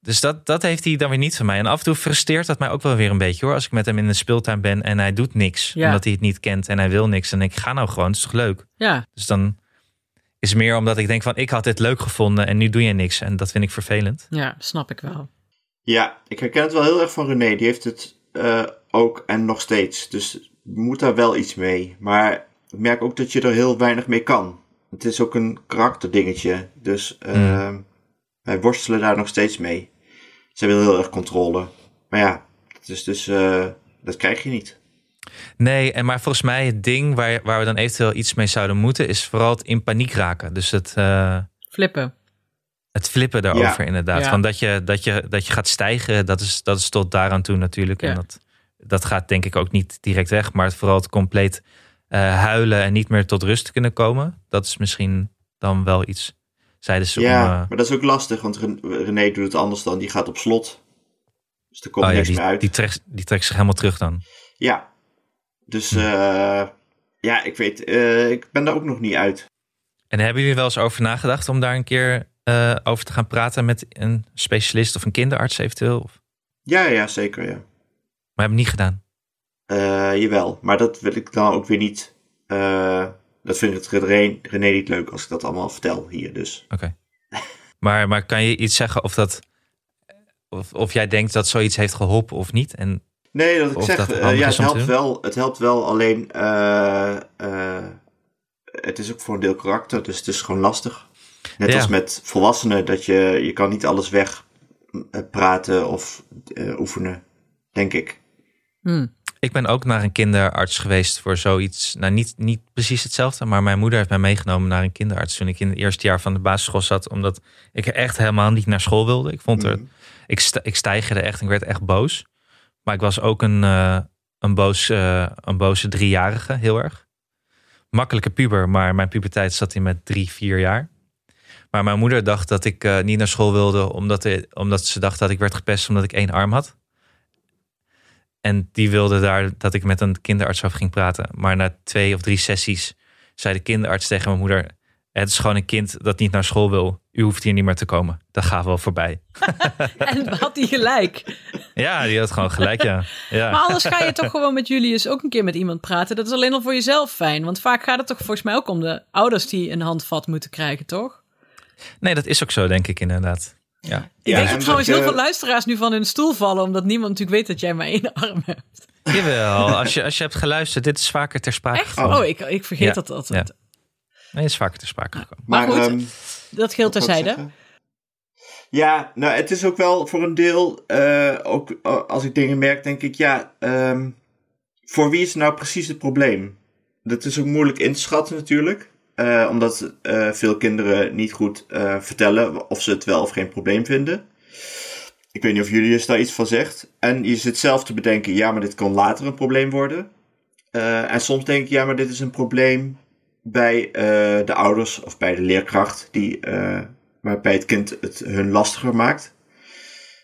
[SPEAKER 1] Dus dat, dat heeft hij dan weer niet van mij. En af en toe frustreert dat mij ook wel weer een beetje hoor. Als ik met hem in de speeltuin ben en hij doet niks.
[SPEAKER 2] Ja.
[SPEAKER 1] Omdat hij het niet kent en hij wil niks. En ik ga nou gewoon, het is toch leuk?
[SPEAKER 2] ja.
[SPEAKER 1] Dus dan is het meer omdat ik denk van ik had dit leuk gevonden en nu doe je niks. En dat vind ik vervelend.
[SPEAKER 2] ja, snap ik wel.
[SPEAKER 3] Ja, ik herken het wel heel erg van René. Die heeft het eh, ook en nog steeds. Dus moet daar wel iets mee. Maar ik merk ook dat je er heel weinig mee kan. Het is ook een karakterdingetje. Dus eh,
[SPEAKER 1] Mm.
[SPEAKER 3] wij worstelen daar nog steeds mee. Zij wil heel erg controle. Maar ja, het is dus, eh, dat krijg je niet.
[SPEAKER 1] Nee, en maar volgens mij het ding waar, waar we dan eventueel iets mee zouden moeten is vooral het in paniek raken. Dus het, eh,
[SPEAKER 2] Flippen.
[SPEAKER 1] het flippen daarover
[SPEAKER 3] Ja.
[SPEAKER 1] inderdaad.
[SPEAKER 2] Ja.
[SPEAKER 1] Van dat, je, dat, je, dat je gaat stijgen, dat is, dat is tot daaraan toe natuurlijk.
[SPEAKER 2] Ja.
[SPEAKER 1] En dat, dat gaat denk ik ook niet direct weg. Maar het, vooral het compleet eh, huilen en niet meer tot rust kunnen komen. Dat is misschien dan wel iets. Zeiden ze
[SPEAKER 3] ja,
[SPEAKER 1] om... eh,
[SPEAKER 3] maar dat is ook lastig, want Ren- René doet het anders dan. Die gaat op slot. Dus er komt
[SPEAKER 1] oh ja,
[SPEAKER 3] niks
[SPEAKER 1] die,
[SPEAKER 3] meer uit.
[SPEAKER 1] die, trekt, die trekt zich helemaal terug dan.
[SPEAKER 3] Ja. Dus
[SPEAKER 1] Mm.
[SPEAKER 3] eh, ja, ik weet, eh, ik ben daar ook nog niet uit.
[SPEAKER 1] En hebben jullie wel eens over nagedacht om daar een keer eh, over te gaan praten met een specialist of een kinderarts eventueel? Of-
[SPEAKER 3] Ja, ja, zeker, ja.
[SPEAKER 1] Maar hebben we niet gedaan.
[SPEAKER 3] Eh, jawel, maar dat wil ik dan ook weer niet. eh, dat vindt het René, René niet leuk als ik dat allemaal vertel hier, dus.
[SPEAKER 1] Maar, maar kan je iets zeggen of dat... Of, of jij denkt dat zoiets heeft geholpen of niet? En
[SPEAKER 3] Nee, dat ik
[SPEAKER 1] Of
[SPEAKER 3] zeg,
[SPEAKER 1] dat het
[SPEAKER 3] eh,
[SPEAKER 1] handig
[SPEAKER 3] ja,
[SPEAKER 1] is
[SPEAKER 3] het
[SPEAKER 1] om te
[SPEAKER 3] helpt
[SPEAKER 1] doen.
[SPEAKER 3] wel. Het helpt wel, alleen eh, eh, het is ook voor een deel karakter, dus het is gewoon lastig. Net
[SPEAKER 1] Ja.
[SPEAKER 3] als met volwassenen, dat je, je kan niet alles weg eh, praten of eh, oefenen, denk ik.
[SPEAKER 2] Hm.
[SPEAKER 1] ik ben ook naar een kinderarts geweest voor zoiets. Nou, niet, niet precies hetzelfde, maar mijn moeder heeft mij meegenomen naar een kinderarts toen ik in het eerste jaar van de basisschool zat. Omdat ik er echt helemaal niet naar school wilde. Ik vond er
[SPEAKER 3] Mhm.
[SPEAKER 1] ik, st- ik stijgerde echt. en Ik werd echt boos. Maar ik was ook een, eh, een, boos, eh, een boze driejarige, heel erg. Makkelijke puber, maar mijn puberteit zat in met drie, vier jaar. Maar mijn moeder dacht dat ik eh, niet naar school wilde, omdat, de- omdat ze dacht dat ik werd gepest omdat ik één arm had. En die wilde daar dat ik met een kinderarts over ging praten. Maar na twee of drie sessies zei de kinderarts tegen mijn moeder: Het is gewoon een kind dat niet naar school wil. U hoeft hier niet meer te komen. Dat gaat wel voorbij.
[SPEAKER 2] En had hij gelijk.
[SPEAKER 1] Ja, die had gewoon gelijk, ja. ja.
[SPEAKER 2] Maar anders ga je toch gewoon met Julius ook een keer met iemand praten. Dat is alleen al voor jezelf fijn. Want vaak gaat het toch volgens mij ook om de ouders die een handvat moeten krijgen, toch?
[SPEAKER 1] Nee, dat is ook zo, denk ik inderdaad. Ja, eh,
[SPEAKER 2] Ik
[SPEAKER 3] Ja,
[SPEAKER 2] denk
[SPEAKER 3] en
[SPEAKER 2] dat trouwens
[SPEAKER 3] dat
[SPEAKER 2] heel
[SPEAKER 3] je-
[SPEAKER 2] veel luisteraars nu van hun stoel vallen. Omdat niemand natuurlijk weet dat jij maar één arm hebt.
[SPEAKER 1] jawel. Als je, als je hebt geluisterd, dit is vaker ter sprake
[SPEAKER 2] Echt?
[SPEAKER 1] gekomen.
[SPEAKER 2] Oh, ik, ik vergeet
[SPEAKER 1] Ja,
[SPEAKER 2] dat altijd.
[SPEAKER 1] ja. Nee, het is vaker ter sprake gekomen.
[SPEAKER 2] Maar goed,
[SPEAKER 3] ehm,
[SPEAKER 2] Dat geldt
[SPEAKER 3] Wat wou ik
[SPEAKER 2] terzijde.
[SPEAKER 3] zeggen? Ja, nou, het is ook wel voor een deel, eh, ook eh, als ik dingen merk, denk ik, ja, ehm, voor wie is nou precies het probleem? Dat is ook moeilijk in te schatten natuurlijk, eh, omdat eh, veel kinderen niet goed eh, vertellen of ze het wel of geen probleem vinden. Ik weet niet of Julius daar iets van zegt. En je zit zelf te bedenken, ja, maar dit kan later een probleem worden. Eh, en soms denk ik, ja, maar dit is een probleem bij eh, de ouders of bij de leerkracht, die, eh, waarbij het kind het hun lastiger maakt.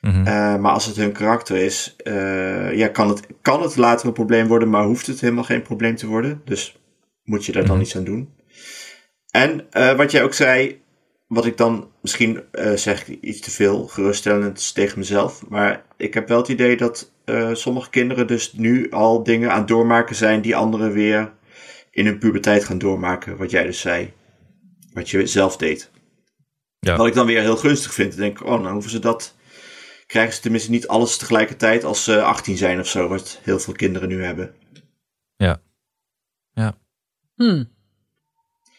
[SPEAKER 1] Mhm.
[SPEAKER 3] Eh, maar als het hun karakter is, eh, ja, kan, het, kan het later een probleem worden, maar hoeft het helemaal geen probleem te worden. Dus moet je daar dan
[SPEAKER 1] Mhm.
[SPEAKER 3] iets aan doen. En eh, wat jij ook zei, wat ik dan misschien eh, zeg ik iets te veel geruststellend tegen mezelf, maar ik heb wel het idee dat eh, sommige kinderen dus nu al dingen aan het doormaken zijn die anderen weer in hun puberteit gaan doormaken, wat jij dus zei. Wat je zelf deed.
[SPEAKER 1] Ja.
[SPEAKER 3] Wat ik dan weer heel gunstig vind. Dan denk ik, oh, dan hoeven ze dat. Krijgen ze tenminste niet alles tegelijkertijd als ze 18 zijn of zo, wat heel veel kinderen nu hebben.
[SPEAKER 2] Hm.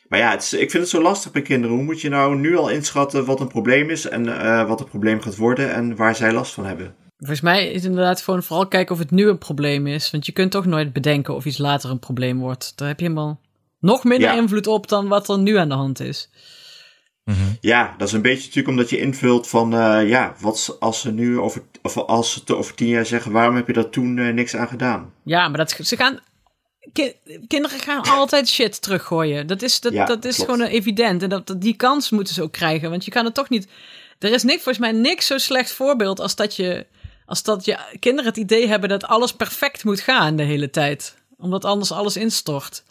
[SPEAKER 3] Maar ja, het is- ik vind het zo lastig bij kinderen. Hoe moet je nou nu al inschatten wat een probleem is en eh, wat een probleem gaat worden en waar zij last van hebben?
[SPEAKER 2] Volgens mij is het inderdaad gewoon vooral kijken of het nu een probleem is. Want je kunt toch nooit bedenken of iets later een probleem wordt. Daar heb je helemaal nog minder
[SPEAKER 3] Ja.
[SPEAKER 2] invloed op dan wat er nu aan de hand is.
[SPEAKER 1] Mhm.
[SPEAKER 3] Ja, dat is een beetje natuurlijk omdat je invult van, eh, ja, wat s- als ze nu over, of als ze te over tien jaar zeggen, waarom heb je daar toen eh, niks aan gedaan?
[SPEAKER 2] Ja, maar dat, ze gaan. ki- kinderen gaan altijd shit teruggooien. Dat is, dat,
[SPEAKER 3] Ja,
[SPEAKER 2] dat is
[SPEAKER 3] klopt.
[SPEAKER 2] gewoon eh, evident. En dat, dat- die kans moeten ze ook krijgen. Want je kan het toch niet. Er is niks, volgens mij niks zo slecht voorbeeld als dat je. Als dat je kinderen het idee hebben dat alles perfect moet gaan de hele tijd. Omdat anders alles instort.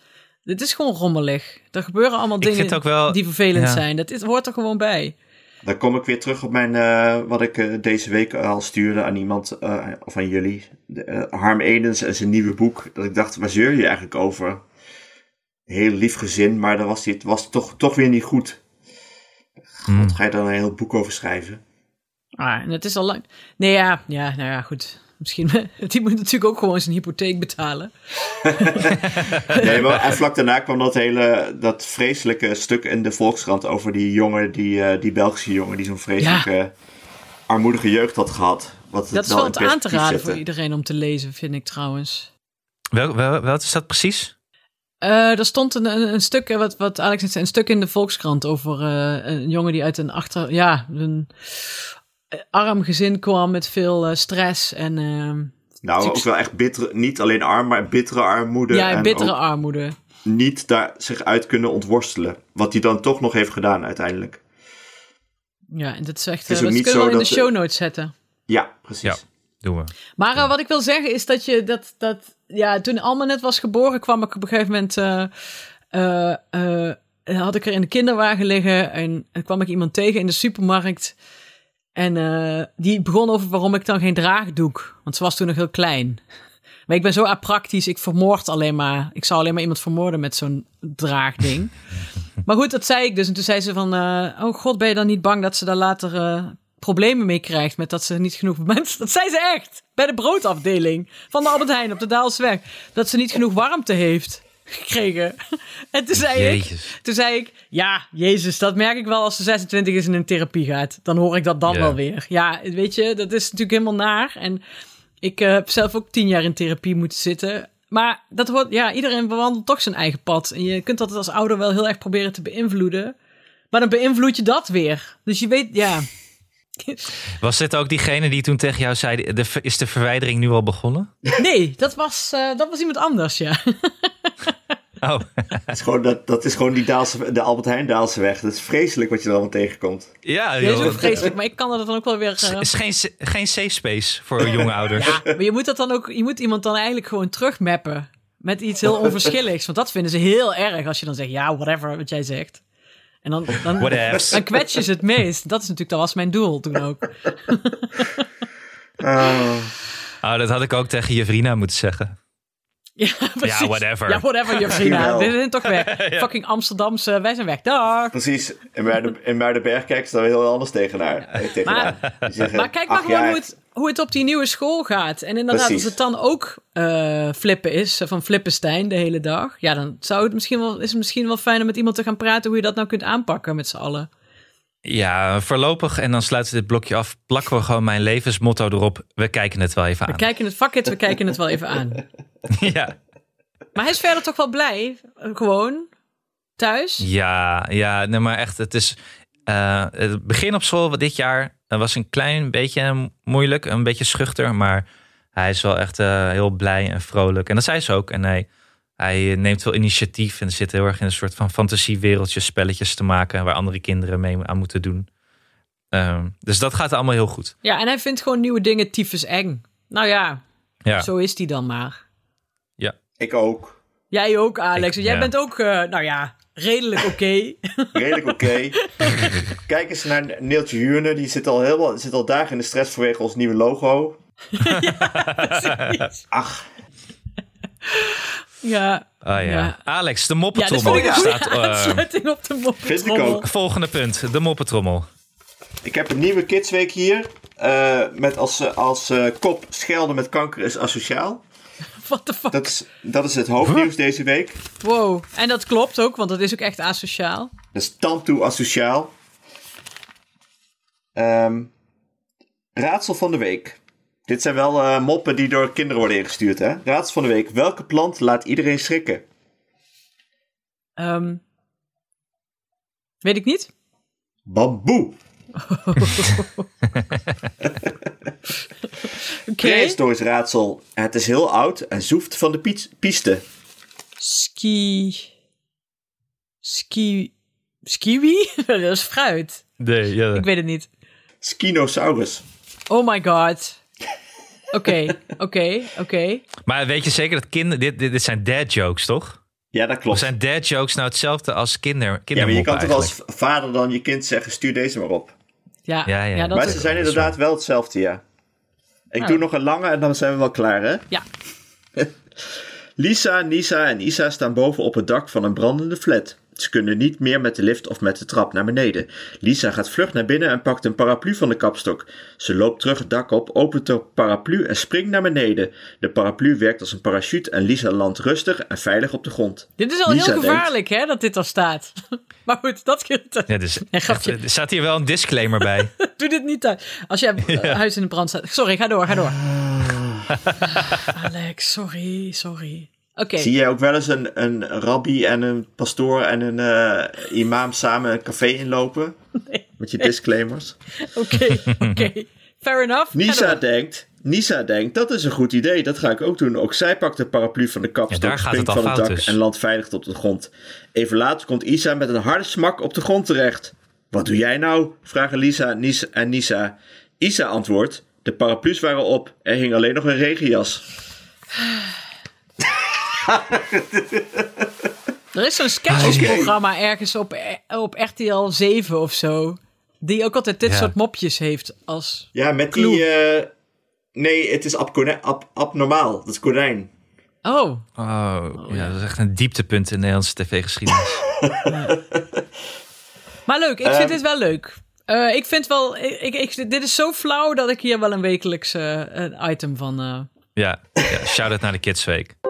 [SPEAKER 2] Dit is gewoon rommelig. Er gebeuren allemaal
[SPEAKER 1] Ik
[SPEAKER 2] dingen
[SPEAKER 1] vind ook wel...
[SPEAKER 2] die vervelend
[SPEAKER 1] ja.
[SPEAKER 2] zijn. Dat is, hoort er gewoon bij.
[SPEAKER 3] Dan kom ik weer terug op mijn, eh, wat ik eh, deze week al stuurde aan iemand, eh, of aan jullie. De, eh, Harm Edens en zijn nieuwe boek. Dat ik dacht, waar zeur je eigenlijk over? Heel lief gezin, maar dan was hij was het toch, toch weer niet goed.
[SPEAKER 1] Mm.
[SPEAKER 3] Wat ga je dan een heel boek over schrijven?
[SPEAKER 2] Ah, en het is al lang. Nee, ja, ja, nou ja, goed. Misschien. Die moet natuurlijk ook gewoon zijn hypotheek betalen.
[SPEAKER 3] Nee, maar, en vlak daarna kwam dat hele, dat vreselijke stuk in de Volkskrant over die jongen, die, eh, die Belgische jongen, die zo'n vreselijke armoedige jeugd had gehad. Wat het
[SPEAKER 2] Dat is
[SPEAKER 3] wel
[SPEAKER 2] wel
[SPEAKER 3] in
[SPEAKER 2] het aan te
[SPEAKER 3] perspectief
[SPEAKER 2] raden
[SPEAKER 3] zette.
[SPEAKER 2] voor iedereen om te lezen, vind ik trouwens.
[SPEAKER 1] Wel, wel, wat is dat precies?
[SPEAKER 2] Eh, er stond een, een, een stuk, eh, wat, wat Alex net zei, een stuk in de Volkskrant over eh, een jongen die uit een achter, ja, een eh, arm gezin kwam met veel eh, stress en ehm,
[SPEAKER 3] Nou, ook wel echt bittere, niet alleen arm, maar bittere armoede.
[SPEAKER 2] ja,
[SPEAKER 3] en
[SPEAKER 2] bittere
[SPEAKER 3] ook-
[SPEAKER 2] armoede.
[SPEAKER 3] niet daar zich uit kunnen ontworstelen. Wat hij dan toch nog heeft gedaan uiteindelijk.
[SPEAKER 2] Ja, en dat is echt.
[SPEAKER 3] Het is
[SPEAKER 2] eh,
[SPEAKER 3] ook
[SPEAKER 2] dat
[SPEAKER 3] niet
[SPEAKER 2] kunnen we
[SPEAKER 3] zo
[SPEAKER 2] in de
[SPEAKER 3] dat-
[SPEAKER 2] show notes zetten.
[SPEAKER 3] Ja, precies.
[SPEAKER 1] Doen we.
[SPEAKER 2] Maar eh, wat ik wil zeggen is dat je dat. dat ja, toen Alma net was geboren, kwam ik op een gegeven moment. eh, eh, eh, had ik er in de kinderwagen liggen en, en kwam ik iemand tegen in de supermarkt. En eh, die begon over waarom ik dan geen draagdoek. Want ze was toen nog heel klein. Maar ik ben zo apraktisch, ik vermoord alleen maar. Ik zou alleen maar iemand vermoorden met zo'n draagding. maar goed, dat zei ik dus. En toen zei ze van, eh, oh god, ben je dan niet bang dat ze daar later eh, problemen mee krijgt met dat ze niet genoeg mensen... Dat zei ze echt, bij de broodafdeling van de Albert Heijn op de Daalsweg. Dat ze niet genoeg warmte heeft gekregen. en toen zei ik,
[SPEAKER 1] Jezus.
[SPEAKER 2] toen zei ik, ja, Jezus, dat merk ik wel als ze 26 is en in therapie gaat. Dan hoor ik dat dan
[SPEAKER 1] Ja.
[SPEAKER 2] wel weer. Ja, weet je, dat is natuurlijk helemaal naar. En ik eh, heb zelf ook tien jaar in therapie moeten zitten. Maar dat hoort, ja, iedereen bewandelt toch zijn eigen pad. En je kunt dat als ouder wel heel erg proberen te beïnvloeden. Maar dan beïnvloed je dat weer. Dus je weet, ja.
[SPEAKER 1] Was dit ook diegene die toen tegen jou zei, de, ver- is de verwijdering nu al begonnen?
[SPEAKER 2] Nee, dat was, eh, dat was iemand anders, ja.
[SPEAKER 1] Oh,
[SPEAKER 3] Het is gewoon, dat, dat is gewoon die Daalse, de Albert Heijn Daalse weg. Dat is vreselijk wat je er allemaal tegenkomt.
[SPEAKER 1] ja
[SPEAKER 2] Dat is ook
[SPEAKER 1] joh.
[SPEAKER 2] vreselijk, maar ik kan dat dan ook wel weer... eh,
[SPEAKER 1] Het is geen, sa- geen safe space voor jonge ouders.
[SPEAKER 2] Ja, maar je moet dat dan ook, je moet iemand dan eigenlijk gewoon terugmappen. Met iets heel onverschilligs. Want dat vinden ze heel erg als je dan zegt, ja, whatever, wat jij zegt. En dan, dan,
[SPEAKER 1] Whatevs.
[SPEAKER 2] dan kwets je ze het meest. Dat is natuurlijk, dat was mijn doel toen ook.
[SPEAKER 1] Oh, dat had ik ook tegen Jevrina moeten zeggen.
[SPEAKER 2] Ja, precies.
[SPEAKER 1] whatever.
[SPEAKER 2] Ja, whatever, je vrienden.
[SPEAKER 3] wel.
[SPEAKER 2] We zijn toch weg. Fucking Amsterdamse, wij zijn weg. Dag.
[SPEAKER 3] Precies. In Muiden- in Muidenberg kijken ze daar heel anders tegenaar, eh, tegenaan. Die zeggen,
[SPEAKER 2] Maar kijk maar
[SPEAKER 3] "Ach
[SPEAKER 2] gewoon
[SPEAKER 3] ja,
[SPEAKER 2] hoe het, hoe het op die nieuwe school gaat. En inderdaad,
[SPEAKER 3] Precies.
[SPEAKER 2] als het dan ook eh, flippen is, eh, van Flippenstein de hele dag. Ja, dan zou het misschien wel, is het misschien wel fijn om met iemand te gaan praten hoe je dat nou kunt aanpakken met z'n allen.
[SPEAKER 1] Ja, voorlopig, en dan sluiten we dit blokje af, plakken we gewoon mijn levensmotto erop. We kijken het wel even
[SPEAKER 2] We
[SPEAKER 1] aan.
[SPEAKER 2] kijken het, fuck it, we kijken het wel even aan.
[SPEAKER 1] Ja,
[SPEAKER 2] Maar hij is verder toch wel blij, eh, gewoon, thuis.
[SPEAKER 1] ja, ja nee, maar echt, het is... eh, het begin op school dit jaar eh, was een klein beetje moeilijk, een beetje schuchter. Maar hij is wel echt eh, heel blij en vrolijk. En dat zei ze ook. En hij, hij neemt wel initiatief en zit heel erg in een soort van fantasiewereldjes, spelletjes te maken... waar andere kinderen mee aan moeten doen. Ehm, dus dat gaat allemaal heel goed.
[SPEAKER 2] Ja, en hij vindt gewoon nieuwe dingen tyfus eng. Nou ja,
[SPEAKER 1] Ja.
[SPEAKER 2] zo is die dan maar.
[SPEAKER 3] Ik ook.
[SPEAKER 2] Jij ook, Alex.
[SPEAKER 1] Ik-
[SPEAKER 2] Jij
[SPEAKER 1] ja.
[SPEAKER 2] bent ook, eh, nou ja, redelijk oké.
[SPEAKER 3] Redelijk oké. Kijk eens naar Neeltje Huurne. Die zit al, helemaal, zit al dagen in de stress vanwege ons nieuwe logo. Ach,
[SPEAKER 2] ja.
[SPEAKER 1] Oh ja.
[SPEAKER 2] Ja.
[SPEAKER 1] Alex, de
[SPEAKER 2] ja,
[SPEAKER 1] moppetrommel
[SPEAKER 2] dit vond ik een goede
[SPEAKER 1] staat. eh,
[SPEAKER 2] aansluiting op de
[SPEAKER 3] vind ik
[SPEAKER 2] moppetrommel.
[SPEAKER 3] ook.
[SPEAKER 1] volgende punt, de moppetrommel.
[SPEAKER 3] ik heb een nieuwe Kidsweek hier. eh, met als, eh, als eh, kop schelden met kanker is asociaal.
[SPEAKER 2] What the fuck?
[SPEAKER 3] Dat is, dat is het hoofdnieuws deze week.
[SPEAKER 2] Wow. En dat klopt ook, want dat is ook echt asociaal.
[SPEAKER 3] Dat is tandtoe Dus asociaal. Ehm, raadsel van de week. Dit zijn wel eh, moppen die door kinderen worden ingestuurd, hè? Raadsel van de week. Welke plant laat iedereen schrikken?
[SPEAKER 2] Ehm, weet ik niet.
[SPEAKER 3] Bamboe.
[SPEAKER 2] Oké.
[SPEAKER 3] Prehistorisch raadsel. Het is heel oud en zoeft van de piet- piste.
[SPEAKER 2] Ski. Ski. Skiwi? dat is fruit.
[SPEAKER 1] Nee, ja.
[SPEAKER 2] Ik weet het niet.
[SPEAKER 3] Skinosaurus.
[SPEAKER 2] Oh my god. Oké, oké, oké.
[SPEAKER 1] Maar weet je zeker dat kinderen. Dit, dit, dit zijn dad jokes, toch?
[SPEAKER 3] Ja, dat
[SPEAKER 1] Of
[SPEAKER 3] klopt.
[SPEAKER 1] zijn dad jokes nou hetzelfde als kinder,
[SPEAKER 3] Ja, maar je
[SPEAKER 1] kindermoppen
[SPEAKER 3] kan toch
[SPEAKER 1] eigenlijk?
[SPEAKER 3] als vader dan je kind zeggen, stuur deze maar op.
[SPEAKER 2] Ja, ja,
[SPEAKER 1] Ja, ja,
[SPEAKER 2] dat
[SPEAKER 3] Maar
[SPEAKER 2] is-
[SPEAKER 3] ze zijn inderdaad wel hetzelfde, ja. Ik doe nog een lange en dan zijn we wel klaar, hè?
[SPEAKER 2] Oh. Ja.
[SPEAKER 3] Lisa, Nisa en Isa staan boven op het dak van een brandende flat. Ze kunnen niet meer met de lift of met de trap naar beneden. Lisa gaat vlug naar binnen en pakt een paraplu van de kapstok. Ze loopt terug het dak op, opent de paraplu en springt naar beneden. De paraplu werkt als een parachute en Lisa landt rustig en veilig op de grond.
[SPEAKER 2] Dit is al
[SPEAKER 3] Lisa
[SPEAKER 2] heel
[SPEAKER 3] denkt-
[SPEAKER 2] gevaarlijk, hè, dat dit al staat. maar goed, dat scheelt.
[SPEAKER 1] Ja, dus,
[SPEAKER 2] Nee, grapje.
[SPEAKER 1] echt, er staat hier wel een disclaimer bij. Oh,
[SPEAKER 2] Doe dit niet thuis. Als je huis in de brand staat. Sorry, ga door, ga door.
[SPEAKER 1] Ah.
[SPEAKER 2] Alex, sorry, sorry. Oké.
[SPEAKER 3] Zie jij ook wel eens een, een rabbi en een pastoor en een eh, imam samen een café inlopen? Met je disclaimers.
[SPEAKER 2] Oké, oké. Fair enough.
[SPEAKER 3] Nisa
[SPEAKER 2] Helemaal.
[SPEAKER 3] denkt, Nisa denkt, dat is een goed idee, dat ga ik ook doen. Ook zij pakt de paraplu van de kapstok,
[SPEAKER 1] Ja, daar gaat
[SPEAKER 3] springt
[SPEAKER 1] het al
[SPEAKER 3] van het dak
[SPEAKER 1] fout dus.
[SPEAKER 3] en landt veilig op de grond. Even later komt Isa met een harde smak op de grond terecht. Wat doe jij nou? vragen Lisa Nis en Nisa. Isa antwoordt: De paraplu's waren op. Er hing alleen nog een regenjas.
[SPEAKER 2] Er is zo'n sketchesprogramma ergens op, eh, op RTL 7 of zo. Die ook altijd dit
[SPEAKER 1] Ja.
[SPEAKER 2] soort mopjes heeft als...
[SPEAKER 3] Ja, met
[SPEAKER 2] Kloe.
[SPEAKER 3] die. eh, nee, het is abkone- ab- abnormaal. Dat konijn.
[SPEAKER 2] Oh,
[SPEAKER 1] Oh, ja, dat is echt een dieptepunt in Nederlandse tv-geschiedenis.
[SPEAKER 2] maar leuk. Ik
[SPEAKER 3] Ehm.
[SPEAKER 2] vind dit wel leuk. Eh, ik vind wel... Ik, ik, ik- dit is zo flauw dat ik hier wel een wekelijks eh, een item van... eh,
[SPEAKER 1] ja, ja shout-out naar de Kids Week. Oh,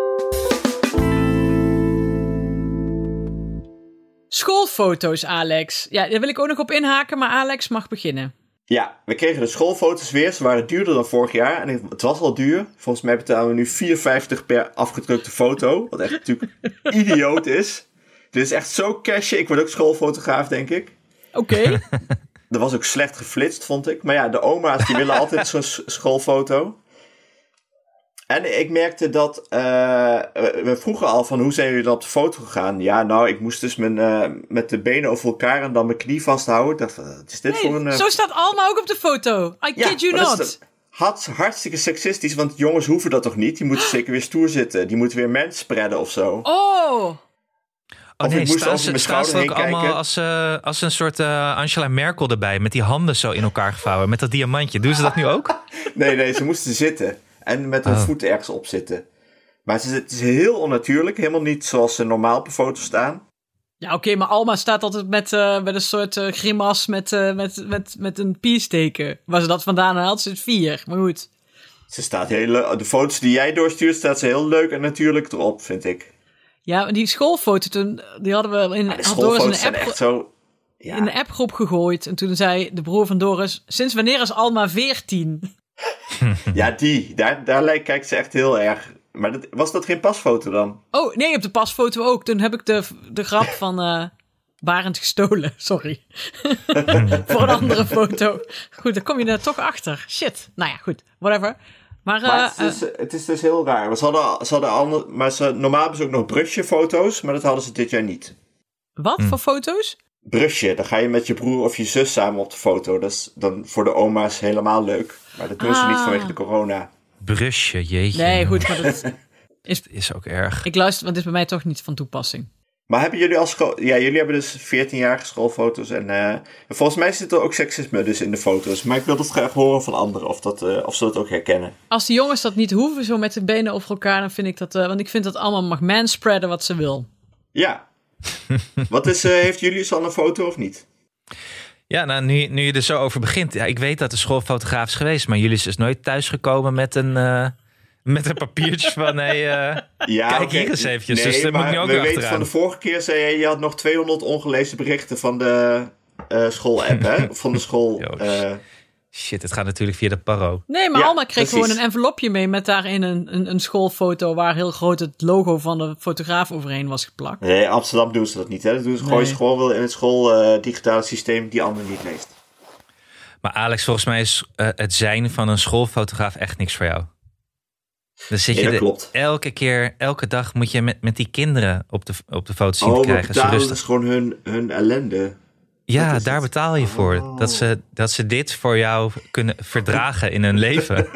[SPEAKER 2] Schoolfoto's, Alex. Ja, daar wil ik ook nog op inhaken, maar Alex mag beginnen.
[SPEAKER 3] Ja, we kregen de schoolfoto's weer. Ze waren duurder dan vorig jaar. En het was al duur. Volgens mij betalen we nu 4,50 per afgedrukte foto. Wat echt natuurlijk idioot is. Dit is echt zo cashje. Ik word ook schoolfotograaf, denk ik.
[SPEAKER 2] Oké.
[SPEAKER 3] Er was ook slecht geflitst, vond ik. Maar ja, de oma's die willen altijd zo'n s- schoolfoto. En ik merkte dat... eh, we vroegen al van hoe zijn jullie dan op de foto gegaan? Ja, nou, ik moest dus mijn, eh, met de benen over elkaar en dan mijn knie vasthouden. Ik dacht, wat is dit
[SPEAKER 2] Nee,
[SPEAKER 3] voor een... eh,
[SPEAKER 2] Zo staat Alma ook op de foto. I kid you
[SPEAKER 3] maar dat
[SPEAKER 2] not.
[SPEAKER 3] is dan- Had hartstikke seksistisch, want jongens hoeven dat toch niet? Die moeten zeker weer stoer zitten. Die moeten weer mens spreaden of zo.
[SPEAKER 2] Oh,
[SPEAKER 1] Oh
[SPEAKER 3] Of
[SPEAKER 1] nee,
[SPEAKER 3] ik moest
[SPEAKER 1] staan
[SPEAKER 3] over
[SPEAKER 1] ze,
[SPEAKER 3] mijn
[SPEAKER 1] staan ze ook
[SPEAKER 3] schouder heen
[SPEAKER 1] allemaal
[SPEAKER 3] kijken.
[SPEAKER 1] als, eh, als een soort eh, Angela Merkel erbij. Met die handen zo in elkaar gevouwen. Met dat diamantje. Doen ze dat nu ook?
[SPEAKER 3] Nee, nee, ze moesten zitten. En met hun
[SPEAKER 1] Oh.
[SPEAKER 3] voet ergens op zitten. Maar ze- het is heel onnatuurlijk. Helemaal niet zoals ze normaal op een foto staan.
[SPEAKER 2] Ja, oké, maar Alma staat altijd met, eh, met een soort eh, grimas met, eh, met, met, met een piersteken. Waar ze dat vandaan haalt, zit vier. Maar goed.
[SPEAKER 3] Ze staat heel le- De foto's die jij doorstuurt, staat ze heel leuk en natuurlijk erop, vind ik.
[SPEAKER 2] Ja, maar die schoolfoto toen, eh, die hadden we in,
[SPEAKER 3] De
[SPEAKER 2] had Doris in
[SPEAKER 3] schoolfoto's
[SPEAKER 2] een,
[SPEAKER 3] zijn
[SPEAKER 2] app,
[SPEAKER 3] echt zo... Ja.
[SPEAKER 2] in een appgroep gegooid. En toen zei de broer van Doris, sinds wanneer is Alma 14?
[SPEAKER 3] ja, die. Daar, daar lijkt, kijkt ze echt heel erg... Maar dat, was dat geen pasfoto dan?
[SPEAKER 2] Oh, nee, op de pasfoto ook. Toen heb ik de, de grap van eh Barend gestolen. Sorry. Voor een andere foto. Goed, dan kom je daar toch achter. Shit. Nou ja, goed. Whatever. Maar, eh,
[SPEAKER 3] Maar het, is dus, het is dus heel raar. Maar Ze hadden, ze hadden ander, maar ze, normaal hebben ze ook nog brusje-foto's, maar dat hadden ze dit jaar
[SPEAKER 2] eh,
[SPEAKER 3] niet.
[SPEAKER 2] wat voor foto's?
[SPEAKER 3] Brusje, dan ga je met je broer of je zus samen op de foto. Dat is dan voor de oma's helemaal leuk. Maar dat doen ze niet
[SPEAKER 2] Ah.
[SPEAKER 3] vanwege de corona.
[SPEAKER 1] Brusje, jeetje.
[SPEAKER 2] Nee,
[SPEAKER 1] joh.
[SPEAKER 2] goed, maar dat,
[SPEAKER 1] Het is ook erg.
[SPEAKER 2] ik luister, want dit is bij mij toch niet van toepassing.
[SPEAKER 3] Maar hebben jullie als school... Ja, jullie hebben dus 14-jarige schoolfoto's. En eh, volgens mij zit er ook seksisme dus in de foto's. Maar ik wil dat graag horen van anderen of, dat, eh, of ze dat ook herkennen.
[SPEAKER 2] Als de jongens dat niet hoeven, zo met de benen over elkaar, dan vind ik dat, eh, want ik vind dat allemaal mag manspreaden wat ze wil.
[SPEAKER 3] Ja. Wat is... eh, heeft jullie al een foto of niet?
[SPEAKER 1] Ja, nou, nu, nu je er zo over begint. Ja, ik weet dat de schoolfotograaf is geweest, maar jullie is dus nooit thuisgekomen met een, eh, met een papiertje van... Hey, eh,
[SPEAKER 3] Ja,
[SPEAKER 1] Kijk
[SPEAKER 3] oké.
[SPEAKER 1] hier eens eventjes, dus dat
[SPEAKER 3] maar
[SPEAKER 1] moet nu ook
[SPEAKER 3] we
[SPEAKER 1] weer
[SPEAKER 3] weten
[SPEAKER 1] achteraan.
[SPEAKER 3] van de vorige keer zei je, je had nog 200 ongelezen berichten van de eh, school-app, hè? Van de school.
[SPEAKER 1] Joost.
[SPEAKER 3] eh,
[SPEAKER 1] shit, het gaat natuurlijk via de paro.
[SPEAKER 2] Nee, maar
[SPEAKER 3] Ja,
[SPEAKER 2] Alma kreeg
[SPEAKER 3] precies.
[SPEAKER 2] gewoon een envelopje mee met daarin een, een, een schoolfoto waar heel groot het logo van de fotograaf overheen was geplakt.
[SPEAKER 3] nee, in Amsterdam doen ze dat niet, hè? Dat doen ze, gooien
[SPEAKER 2] Nee.
[SPEAKER 3] ze gewoon wel in het school-digitale systeem die anderen niet leest.
[SPEAKER 1] Maar Alex, volgens mij is eh, het zijn van een schoolfotograaf echt niks voor jou. Dan zit
[SPEAKER 3] Ja,
[SPEAKER 1] je
[SPEAKER 3] dat
[SPEAKER 1] er-
[SPEAKER 3] klopt.
[SPEAKER 1] elke keer, elke dag moet je met, met die kinderen op de, op de foto zien te
[SPEAKER 3] Oh, we
[SPEAKER 1] krijgen.
[SPEAKER 3] betalen
[SPEAKER 1] zodat-
[SPEAKER 3] dus gewoon hun, hun ellende.
[SPEAKER 1] ja,
[SPEAKER 3] dat is
[SPEAKER 1] daar
[SPEAKER 3] het.
[SPEAKER 1] betaal je voor.
[SPEAKER 3] Oh.
[SPEAKER 1] Dat, ze, dat ze dit voor jou kunnen verdragen in hun leven.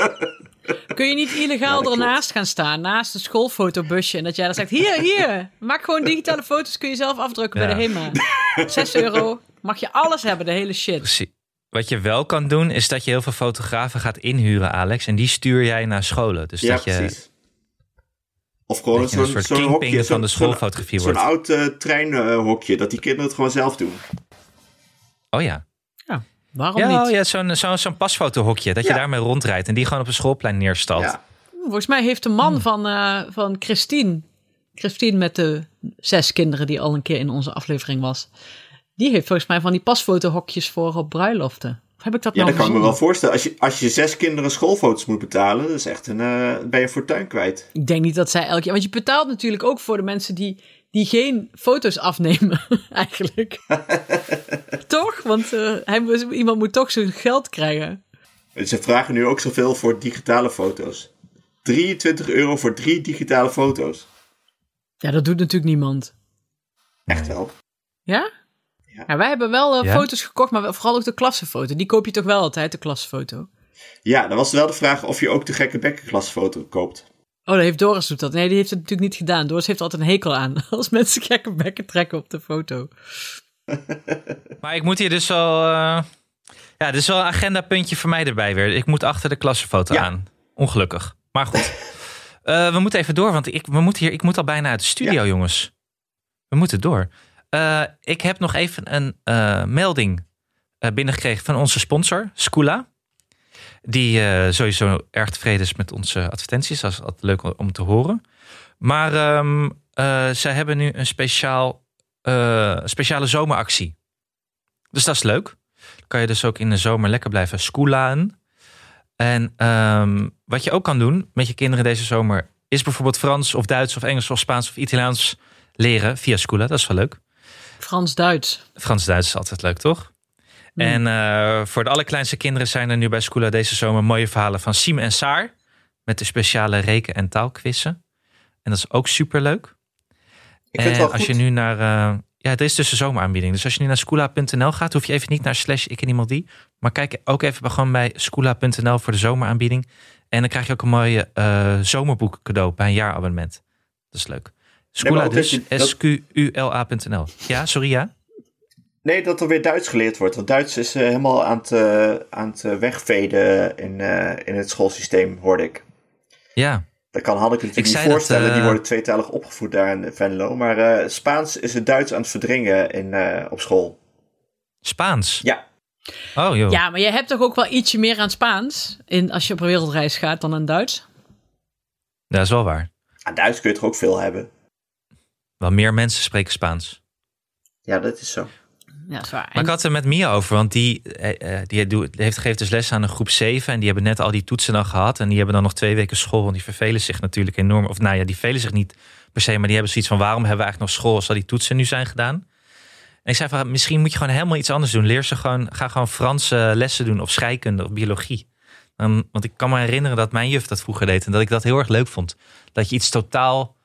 [SPEAKER 2] Kun je niet illegaal
[SPEAKER 3] Ja, dat
[SPEAKER 2] ernaast gaan staan, naast een schoolfotobusje, en dat jij dan zegt, hier, hier, maak gewoon digitale foto's, kun je zelf afdrukken bij
[SPEAKER 1] Ja.
[SPEAKER 2] de HEMA. 6 euro, mag je alles hebben, de hele shit.
[SPEAKER 1] Precies. Wat je wel kan doen, is dat je heel veel fotografen gaat inhuren, Alex. En die stuur jij naar scholen. Dus
[SPEAKER 3] ja,
[SPEAKER 1] dat je,
[SPEAKER 3] precies. Of gewoon
[SPEAKER 1] dat je een
[SPEAKER 3] zo'n
[SPEAKER 1] soort
[SPEAKER 3] zo'n
[SPEAKER 1] kingpin
[SPEAKER 3] hokje.
[SPEAKER 1] van
[SPEAKER 3] zo'n-
[SPEAKER 1] de schoolfotografie
[SPEAKER 3] Zo'n zo'n
[SPEAKER 1] wordt.
[SPEAKER 3] oud eh, treinhokje, dat die kinderen het gewoon zelf doen.
[SPEAKER 1] Oh ja.
[SPEAKER 2] Waarom
[SPEAKER 1] Ja,
[SPEAKER 2] niet?
[SPEAKER 1] oh ja zo'n zo, zo'n pasfotohokje. Dat je
[SPEAKER 3] Ja.
[SPEAKER 1] daarmee rondrijdt en die gewoon op een schoolplein neerstalt.
[SPEAKER 3] Ja.
[SPEAKER 2] Volgens mij heeft de man van, eh, van Christine, Christine met de zes kinderen die al een keer in onze aflevering was, die heeft volgens mij van die pasfotohokjes voor op bruiloften. Of heb ik dat
[SPEAKER 3] Ja,
[SPEAKER 2] nou
[SPEAKER 3] dat kan ik me wel
[SPEAKER 2] gezien?
[SPEAKER 3] voorstellen. Als je, als je zes kinderen schoolfoto's moet betalen, dat is echt een, eh, ben je fortuin kwijt.
[SPEAKER 2] Ik denk niet dat zij elk jaar, want je betaalt natuurlijk ook voor de mensen die, die geen foto's afnemen, eigenlijk. toch? Want eh, hij, moet- iemand moet toch zijn geld krijgen.
[SPEAKER 3] En ze vragen nu ook zoveel voor digitale foto's. 23 euro voor drie digitale foto's.
[SPEAKER 2] Ja, dat doet natuurlijk niemand.
[SPEAKER 3] Echt wel.
[SPEAKER 2] Ja? Ja, wij hebben wel eh,
[SPEAKER 1] Ja?
[SPEAKER 2] foto's gekocht, maar wel- vooral ook de klassenfoto. Die koop je toch wel altijd, de klassenfoto?
[SPEAKER 3] Ja, dan was wel de vraag of je ook de gekke bekkenklasfoto koopt.
[SPEAKER 2] Oh, dat heeft Doris doet dat. Nee, die heeft het natuurlijk niet gedaan. Doris heeft er altijd een hekel aan als mensen gekke bekken trekken op de foto.
[SPEAKER 1] Maar ik moet hier dus wel. eh, ja, dit is wel een agendapuntje voor mij erbij weer. Ik moet achter de klassenfoto
[SPEAKER 3] Ja.
[SPEAKER 1] aan. Ongelukkig. Maar goed. Eh, we moeten even door, want ik, we moeten hier, ik moet al bijna uit de studio, jongens. We moeten door. Eh, ik heb nog even een eh, melding eh, binnengekregen van onze sponsor, Skoola. Die eh, sowieso erg tevreden is met onze advertenties. Dat is altijd leuk om te horen. Maar ehm, eh, zij hebben nu een speciaal, eh, speciale zomeractie. Dus dat is leuk. Dan kan je dus ook in de zomer lekker blijven schoolaan. En ehm, wat je ook kan doen met je kinderen deze zomer... is bijvoorbeeld Frans of Duits of Engels of Spaans of Italiaans leren via Scoola. Dat is wel leuk.
[SPEAKER 2] Frans-Duits.
[SPEAKER 1] Frans-Duits is altijd leuk, toch?
[SPEAKER 2] Mm.
[SPEAKER 1] En eh, voor de allerkleinste kinderen zijn er nu bij Scoola deze zomer mooie verhalen van Siem en Saar. Met de speciale reken- en taalquizzen. En dat is ook superleuk.
[SPEAKER 3] Ik vind
[SPEAKER 1] en
[SPEAKER 3] het wel
[SPEAKER 1] als
[SPEAKER 3] goed.
[SPEAKER 1] je nu naar. eh, ja, er is dus een zomeraanbieding. Dus als je nu naar scoola.nl gaat, hoef je even niet naar slash ik en iemand die. Maar kijk ook even bij- gewoon bij scoola.nl voor de zomeraanbieding. En dan krijg je ook een mooie eh, zomerboek cadeau bij een jaarabonnement. Dat is leuk.
[SPEAKER 3] Nee, maar
[SPEAKER 1] Scoola
[SPEAKER 3] ook
[SPEAKER 1] dus,
[SPEAKER 3] dat je- dat-
[SPEAKER 1] S-Q-U-L-A.nl. Ja, sorry, ja?
[SPEAKER 3] Nee, dat er weer Duits geleerd wordt. Want Duits is eh, helemaal aan het, eh, aan het eh, wegveden in, eh, in het schoolsysteem, hoorde ik.
[SPEAKER 1] Ja.
[SPEAKER 3] Dat kan Hanneke
[SPEAKER 1] Ik
[SPEAKER 3] natuurlijk niet
[SPEAKER 1] zei dat,
[SPEAKER 3] voorstellen. Die
[SPEAKER 1] eh,
[SPEAKER 3] worden tweetalig opgevoed daar in Venlo. Maar eh, Spaans is het Duits aan het verdringen in, eh, op school.
[SPEAKER 1] Spaans.
[SPEAKER 3] Ja.
[SPEAKER 1] Oh, joh.
[SPEAKER 2] Ja, maar je hebt toch ook wel ietsje meer aan Spaans in, als je op een wereldreis gaat dan aan Duits?
[SPEAKER 1] Dat is wel waar.
[SPEAKER 3] Aan Duits kun je toch ook veel hebben?
[SPEAKER 1] Wel meer mensen spreken Spaans.
[SPEAKER 3] Ja, dat is zo.
[SPEAKER 2] Ja, dat is waar.
[SPEAKER 1] Maar
[SPEAKER 2] En-
[SPEAKER 1] ik had het er met Mia over, want die, eh, eh, die doet- heeft, geeft dus les aan een groep 7. En die hebben net al die toetsen dan gehad. En die hebben dan nog twee weken school. Want die vervelen zich natuurlijk enorm. Of nou ja, die vervelen zich niet per se. Maar die hebben zoiets van: waarom hebben we eigenlijk nog school als al die toetsen nu zijn gedaan? En ik zei van: misschien moet je gewoon helemaal iets anders doen. Leer ze gewoon, ga gewoon Franse lessen doen. Of scheikunde of biologie. Dan- want ik kan me herinneren dat mijn juf dat vroeger deed. En dat ik dat heel erg leuk vond. Dat je iets totaal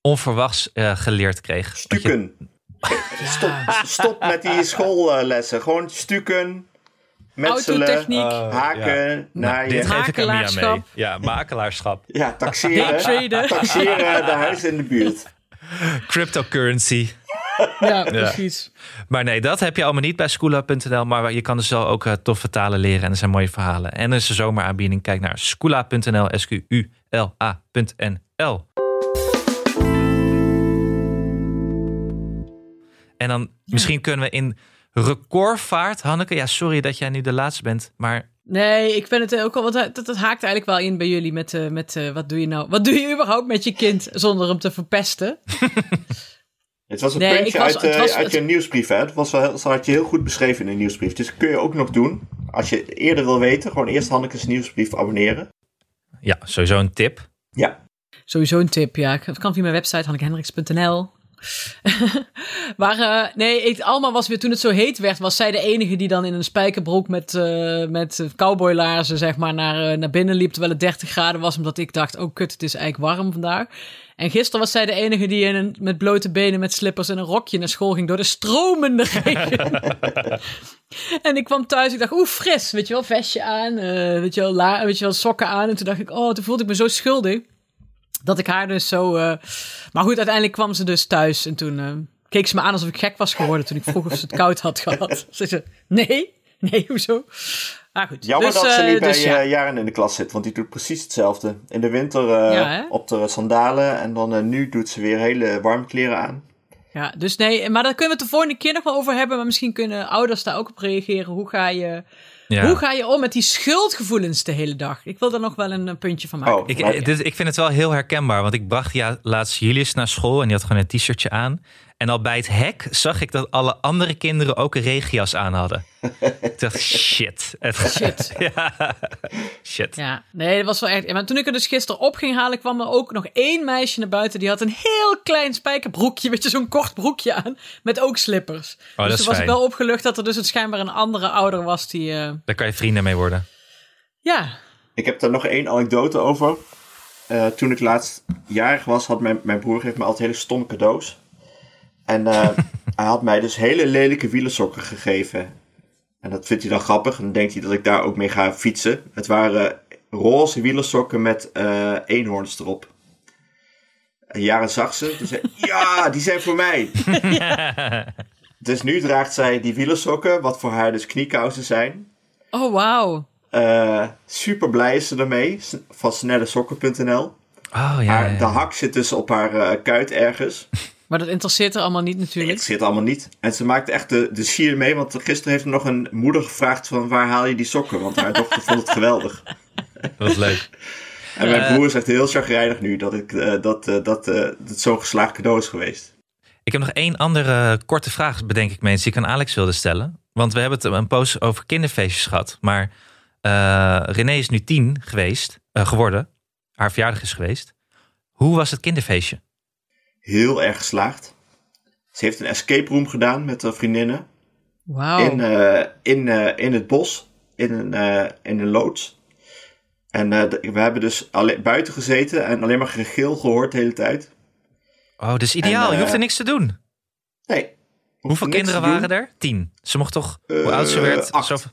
[SPEAKER 1] onverwachts eh, geleerd kreeg. Dat je-
[SPEAKER 3] Stukken. Stop, stop met die schoollessen. Gewoon stukken, metselen, eh,
[SPEAKER 2] Autotechniek,
[SPEAKER 3] haken, naaien.
[SPEAKER 1] dit
[SPEAKER 3] Ja.
[SPEAKER 1] geef ik aan Mia mee.
[SPEAKER 2] Makelaarschap.
[SPEAKER 1] Ja, makelaarschap.
[SPEAKER 3] taxeren.
[SPEAKER 2] Daytraden.
[SPEAKER 3] Taxeren de huizen in de buurt.
[SPEAKER 1] Cryptocurrency.
[SPEAKER 2] ja, precies.
[SPEAKER 1] Maar nee, dat heb je allemaal niet bij schoola.nl. Maar je kan dus wel ook eh, toffe talen leren. En er zijn mooie verhalen. En er is een zomeraanbieding. Kijk naar schoola.nl. S-Q-U-L-A.nl. En dan misschien kunnen we in recordvaart... Hanneke, ja, sorry dat jij nu de laatste bent. Maar
[SPEAKER 2] Nee, ik ben het ook al, want dat, dat haakt eigenlijk wel in bij jullie met, eh, met eh, wat doe je nou? Wat doe je überhaupt met je kind zonder hem te verpesten?
[SPEAKER 3] Het was een
[SPEAKER 2] Nee,
[SPEAKER 3] puntje
[SPEAKER 2] ik was-
[SPEAKER 3] uit,
[SPEAKER 2] het
[SPEAKER 3] eh,
[SPEAKER 2] was-
[SPEAKER 3] uit je nieuwsbrief. Hè? Dat, was wel, dat had je heel goed beschreven in de nieuwsbrief. Dus dat kun je ook nog doen. Als je het eerder wil weten, gewoon eerst Hanneke's nieuwsbrief abonneren.
[SPEAKER 1] ja, sowieso een tip.
[SPEAKER 3] Ja,
[SPEAKER 2] Sowieso een tip, ja. Het kan via mijn website, hannekehendricks.nl. maar eh, nee, ik, Alma was weer, toen het zo heet werd, was zij de enige die dan in een spijkerbroek met, eh met cowboylaarzen zeg maar, naar, eh, naar binnen liep, terwijl het 30 graden was, omdat ik dacht, oh kut, het is eigenlijk warm vandaag. En gisteren was zij de enige die in een, met blote benen, met slippers en een rokje naar school ging door de stromende regen. en ik kwam thuis, ik dacht, oeh, fris, weet je wel, vestje aan, eh, weet, je wel, la, weet je wel, sokken aan. En toen dacht ik, oh, toen voelde ik me zo schuldig. Dat ik haar dus zo. eh, Maar goed, uiteindelijk kwam ze dus thuis. En toen eh, keek ze me aan alsof ik gek was geworden. toen ik vroeg of ze het koud had gehad. Ze zei: Nee, nee, hoezo? Maar goed.
[SPEAKER 3] jammer
[SPEAKER 2] dus,
[SPEAKER 3] dat ze
[SPEAKER 2] eh,
[SPEAKER 3] niet bij
[SPEAKER 2] dus
[SPEAKER 3] eh,
[SPEAKER 2] ja.
[SPEAKER 3] Jaren in de klas zit, want die doet precies hetzelfde. In de winter eh,
[SPEAKER 2] Ja, hè?
[SPEAKER 3] op de sandalen en dan eh, nu doet ze weer hele warme kleren aan.
[SPEAKER 2] ja, dus nee. Maar daar kunnen we het de volgende keer nog wel over hebben. Maar misschien kunnen ouders daar ook op reageren. Hoe ga je,
[SPEAKER 1] Ja.
[SPEAKER 2] hoe ga je om met die schuldgevoelens de hele dag? Ik wil daar nog wel een, eh, puntje van maken.
[SPEAKER 3] Oh,
[SPEAKER 1] Ik,
[SPEAKER 3] maar-
[SPEAKER 1] eh, dit, ik vind het wel heel herkenbaar. Want ik bracht ja, laatst Julius naar school en die had gewoon een t-shirtje aan. En al bij het hek zag ik dat alle andere kinderen ook een regenjas aan hadden. ik dacht, shit.
[SPEAKER 2] Shit.
[SPEAKER 1] ja. Shit.
[SPEAKER 2] Ja, nee, dat was wel echt. Maar toen ik er dus gisteren op ging halen, kwam er ook nog één meisje naar buiten. Die had een heel klein spijkerbroekje, weet je, zo'n kort broekje aan. Met ook slippers.
[SPEAKER 1] Oh, dat
[SPEAKER 2] dus
[SPEAKER 1] is
[SPEAKER 2] toen was ik
[SPEAKER 1] fijn.
[SPEAKER 2] wel opgelucht dat er dus het schijnbaar een andere ouder was die. eh,
[SPEAKER 1] Daar kan je vrienden mee worden.
[SPEAKER 2] ja,
[SPEAKER 3] Ik heb daar nog één anekdote over. Eh, toen ik laatst jarig was, had mijn, mijn broer geeft me altijd hele stomme cadeaus. En eh, hij had mij dus hele lelijke wielersokken gegeven. En dat vindt hij dan grappig. En dan denkt hij dat ik daar ook mee ga fietsen. Het waren roze wielersokken met eh eenhoorns erop. En Jaren zag ze. Toen zei ja, die zijn voor mij. Dus nu draagt zij die wielersokken, wat voor haar dus kniekousen zijn.
[SPEAKER 2] Oh, wauw.
[SPEAKER 3] Eh, super blij is ze ermee. s- Van snellesokken.nl.
[SPEAKER 1] Oh ja.
[SPEAKER 3] Haar-
[SPEAKER 1] ja, ja.
[SPEAKER 3] De hak zit dus op haar eh, kuit ergens.
[SPEAKER 2] Maar dat interesseert er allemaal niet
[SPEAKER 3] Het
[SPEAKER 2] natuurlijk.
[SPEAKER 3] zit allemaal niet. En ze maakt echt de, de sier mee, want gisteren heeft nog een moeder gevraagd van waar haal je die sokken? Want haar dochter vond het geweldig.
[SPEAKER 1] Wat leuk.
[SPEAKER 3] En mijn broer is echt heel chagrijnig nu dat, ik, eh, dat, eh, dat, eh, dat zo'n geslaagd cadeau is geweest.
[SPEAKER 1] Ik heb nog één andere korte vraag, bedenk ik mensen, die ik aan Alex wilde stellen. Want we hebben het een poos over kinderfeestjes gehad. Maar eh, René is nu tien geweest, eh, geworden. Haar verjaardag is geweest. Hoe was het kinderfeestje?
[SPEAKER 3] Heel erg geslaagd. Ze heeft een escape room gedaan met haar vriendinnen.
[SPEAKER 2] Wauw.
[SPEAKER 3] in,
[SPEAKER 1] Oh.
[SPEAKER 3] eh, in, eh, in het bos, in een, eh, in een loods. En eh, de- we hebben dus alle- buiten gezeten en alleen maar gegil gehoord de hele tijd.
[SPEAKER 1] Oh, dat is ideaal.
[SPEAKER 3] En, eh,
[SPEAKER 1] je hoeft er niks te doen.
[SPEAKER 3] Nee. hoefde
[SPEAKER 1] Hoeveel
[SPEAKER 3] niks
[SPEAKER 1] kinderen
[SPEAKER 3] te doen.
[SPEAKER 1] waren er? Tien. Ze mocht toch, hoe
[SPEAKER 3] Eh,
[SPEAKER 1] oud ze werd?
[SPEAKER 3] acht.
[SPEAKER 1] zoveel-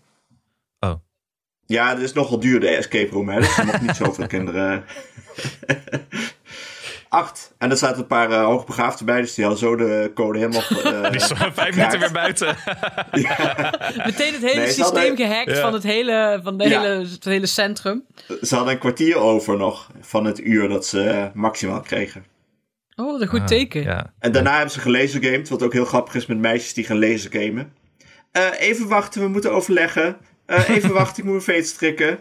[SPEAKER 3] Ja, dat is nogal duur, de escape room, hè. Dus er mochten niet zoveel kinderen. Acht. En er zaten een paar eh, hoogbegaafden bij, dus die hadden zo de code helemaal... eh,
[SPEAKER 1] Die stond vijf minuten weer buiten.
[SPEAKER 2] Meteen het hele
[SPEAKER 3] Nee, ze
[SPEAKER 2] systeem
[SPEAKER 3] hadden-
[SPEAKER 2] gehackt
[SPEAKER 1] Ja.
[SPEAKER 2] van, het hele, van de
[SPEAKER 3] Ja.
[SPEAKER 2] hele, het hele centrum.
[SPEAKER 3] Ze hadden een kwartier over nog van het uur dat ze eh, maximaal kregen.
[SPEAKER 2] Oh, wat een goed
[SPEAKER 1] Ah,
[SPEAKER 2] teken.
[SPEAKER 1] Ja.
[SPEAKER 3] En daarna hebben ze gelezen wat ook heel grappig is met meisjes die gaan lezen gamen. Eh, even wachten, we moeten overleggen. Eh, even wachten, ik moet mijn veet strikken.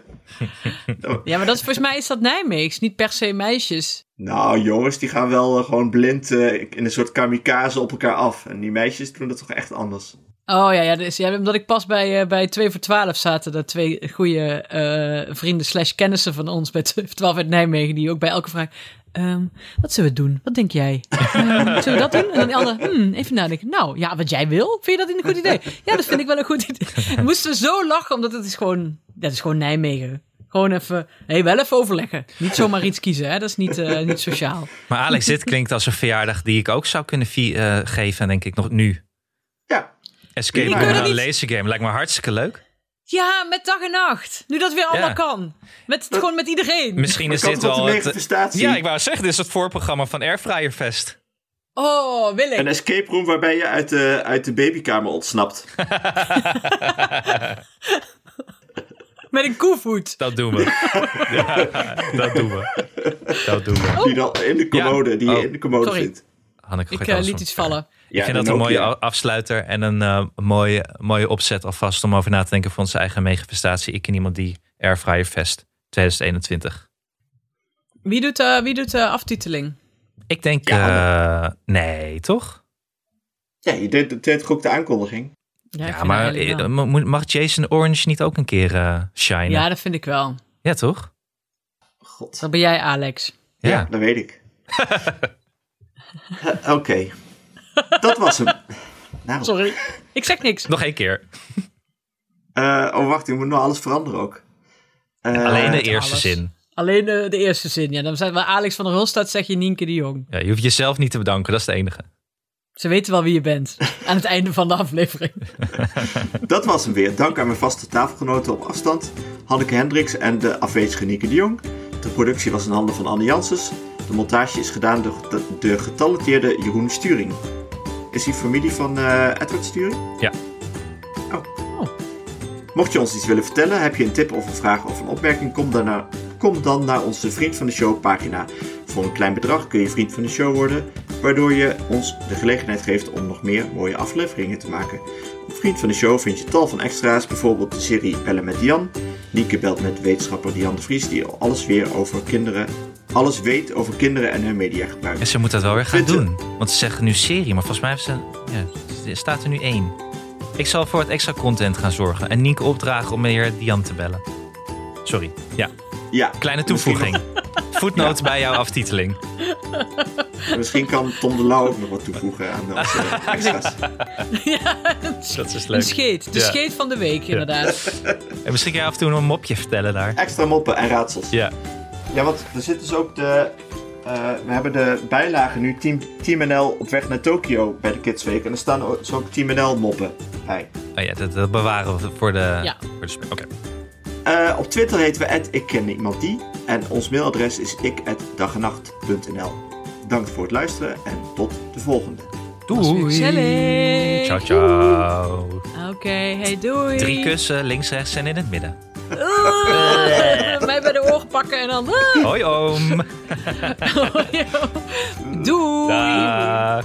[SPEAKER 2] Ja, maar dat is, volgens mij is dat Nijmeegs, niet per se meisjes.
[SPEAKER 3] Nou, jongens, die gaan wel eh, gewoon blind eh, in een soort kamikaze op elkaar af. En die meisjes doen dat toch echt anders.
[SPEAKER 2] Oh ja, ja, dat is, ja omdat ik pas bij, eh, bij 2 voor 12 zaten, dat twee goede eh, vrienden slash kennissen van ons bij 2 voor 12 uit Nijmegen, die ook bij elke vraag, ehm, wat zullen we doen? Wat denk jij? Ehm, zullen we dat doen? En dan die ander, hmm, even nadenken. Nou, ja, wat jij wil, vind je dat een goed idee? Ja, dat vind ik wel een goed idee. Moesten we zo lachen, omdat het is gewoon, dat is gewoon Nijmegen. Gewoon even, hey, wel even overleggen. Niet zomaar iets kiezen, hè? dat is niet, eh, niet sociaal.
[SPEAKER 1] Maar Alex, dit klinkt als een verjaardag die ik ook zou kunnen vi- eh, geven, denk ik, nog nu.
[SPEAKER 3] Ja,
[SPEAKER 1] Escape
[SPEAKER 3] Ik
[SPEAKER 1] room
[SPEAKER 3] wil
[SPEAKER 1] en
[SPEAKER 2] het
[SPEAKER 1] een
[SPEAKER 2] niet-
[SPEAKER 1] lasergame lijkt me hartstikke leuk.
[SPEAKER 2] Ja, met dag en nacht. Nu dat weer allemaal kan. Met, gewoon met iedereen.
[SPEAKER 1] Misschien
[SPEAKER 3] maar
[SPEAKER 1] is
[SPEAKER 3] kan
[SPEAKER 1] dit
[SPEAKER 3] het op
[SPEAKER 1] wel
[SPEAKER 3] de
[SPEAKER 1] het...
[SPEAKER 3] manifestatie?
[SPEAKER 1] Ja, ik wou zeggen, dit is het voorprogramma van Airfryer Fest.
[SPEAKER 2] Oh, wil
[SPEAKER 3] Een
[SPEAKER 2] ik.
[SPEAKER 3] escape room waarbij je uit de, uit de babykamer ontsnapt.
[SPEAKER 2] Met een koevoet.
[SPEAKER 1] Dat doen we. ja, dat doen we. Dat doen we.
[SPEAKER 3] Die dan in de commode, die
[SPEAKER 1] Oh.
[SPEAKER 3] je in de commode
[SPEAKER 2] Sorry.
[SPEAKER 3] zit.
[SPEAKER 1] Hanneke
[SPEAKER 2] Ik
[SPEAKER 1] gooit
[SPEAKER 2] eh,
[SPEAKER 1] alles
[SPEAKER 2] liet
[SPEAKER 1] om
[SPEAKER 2] iets
[SPEAKER 1] elkaar.
[SPEAKER 2] vallen.
[SPEAKER 1] Ik vind dat een mooie a- afsluiter en een eh, mooie, mooie opzet alvast om over na te denken voor onze eigen megafestatie. Ik en iemand die Airfryer Fest 2021.
[SPEAKER 2] Wie doet, eh, wie doet de aftiteling?
[SPEAKER 1] Ik denk,
[SPEAKER 3] Ja,
[SPEAKER 1] eh, nee, toch?
[SPEAKER 3] Ja, je deed, deed toch ook de aankondiging?
[SPEAKER 2] Ja, ik
[SPEAKER 1] ja,
[SPEAKER 2] vind
[SPEAKER 1] maar
[SPEAKER 2] eigenlijk wel.
[SPEAKER 1] eh, mo- moet- mag Jason Orange niet ook een keer eh shinen?
[SPEAKER 2] Ja,
[SPEAKER 1] Ja,
[SPEAKER 2] dat vind ik wel.
[SPEAKER 1] toch?
[SPEAKER 3] God.
[SPEAKER 2] Dat ben jij, Alex.
[SPEAKER 1] Ja.
[SPEAKER 3] Ja, dat weet ik. Eh, Oké. Dat was hem. Nou,
[SPEAKER 2] Sorry. Ik zeg niks.
[SPEAKER 1] Nog één keer.
[SPEAKER 3] Eh, oh, wacht, ik moet nog alles veranderen ook. Eh,
[SPEAKER 1] Alleen de
[SPEAKER 2] met
[SPEAKER 1] eerste
[SPEAKER 2] alles.
[SPEAKER 1] zin.
[SPEAKER 2] Alleen eh, de, de eerste zin. Ja, dan zijn we Alex van der Hulstad, zeg je Nienke de Jong.
[SPEAKER 1] Ja, je hoeft jezelf niet te bedanken, dat is de enige.
[SPEAKER 2] Ze weten wel wie je bent. Aan het einde van de aflevering.
[SPEAKER 3] Dat was hem weer. Dank aan mijn vaste tafelgenoten op afstand, Hanneke Hendricks en de afwezige Nieke de Jong. De productie was in handen van Anne Janssens. De montage is gedaan door de, de getalenteerde Jeroen Sturing. Is hij familie van eh, Edward Sturing?
[SPEAKER 1] Ja.
[SPEAKER 3] Oh. Mocht je ons iets willen vertellen, heb je een tip of een vraag of een opmerking, kom dan naar, kom dan naar onze Vriend van de Show pagina. Voor een klein bedrag kun je Vriend van de Show worden, waardoor je ons de gelegenheid geeft om nog meer mooie afleveringen te maken. Op Vriend van de Show vind je tal van extra's, bijvoorbeeld de serie Bellen met Jan. Nieke belt met wetenschapper Jan de Vries, die alles weer over kinderen, alles weet over kinderen en hun mediagebruik.
[SPEAKER 1] En ze moet dat wel weer gaan
[SPEAKER 3] Vindt-
[SPEAKER 1] doen. Want ze zeggen nu serie, maar volgens mij heeft ze, ja, er staat er nu één. Ik zal voor het extra content gaan zorgen. En Nienke opdragen om meneer Dian te bellen. Sorry. Ja,
[SPEAKER 3] Ja,
[SPEAKER 1] kleine toevoeging. Voetnoot bij jouw aftiteling.
[SPEAKER 3] Misschien, misschien kan Tom de Lauw ook nog wat toevoegen aan onze extra's.
[SPEAKER 1] Dat is
[SPEAKER 2] Een
[SPEAKER 1] leuk.
[SPEAKER 2] scheet. De
[SPEAKER 1] Ja.
[SPEAKER 2] scheet van de week, inderdaad.
[SPEAKER 1] En misschien kan je af en toe nog een mopje vertellen daar.
[SPEAKER 3] Extra moppen en raadsels.
[SPEAKER 1] Ja.
[SPEAKER 3] Ja, want er zit dus ook de eh, eh, we hebben de bijlagen nu Team, Team NL op weg naar Tokio bij de Kids Week. En er staan ook, zo ook Team NL moppen bij.
[SPEAKER 1] Oh ja, dat, dat bewaren we voor de,
[SPEAKER 2] Ja.
[SPEAKER 1] voor de spe- Oké.
[SPEAKER 3] Eh, op Twitter heten we ik ken iemand die. En ons mailadres is ik Bedankt voor het luisteren en tot de volgende.
[SPEAKER 1] Doei.
[SPEAKER 2] Gezellig.
[SPEAKER 1] Ciao, ciao.
[SPEAKER 2] Oké, hey, doei.
[SPEAKER 1] Drie kussen, links, rechts en in het midden.
[SPEAKER 2] Oeh, Ah, mij bij de oren pakken en dan... Ah,
[SPEAKER 1] Hoi oom.
[SPEAKER 2] doei.
[SPEAKER 1] Dag.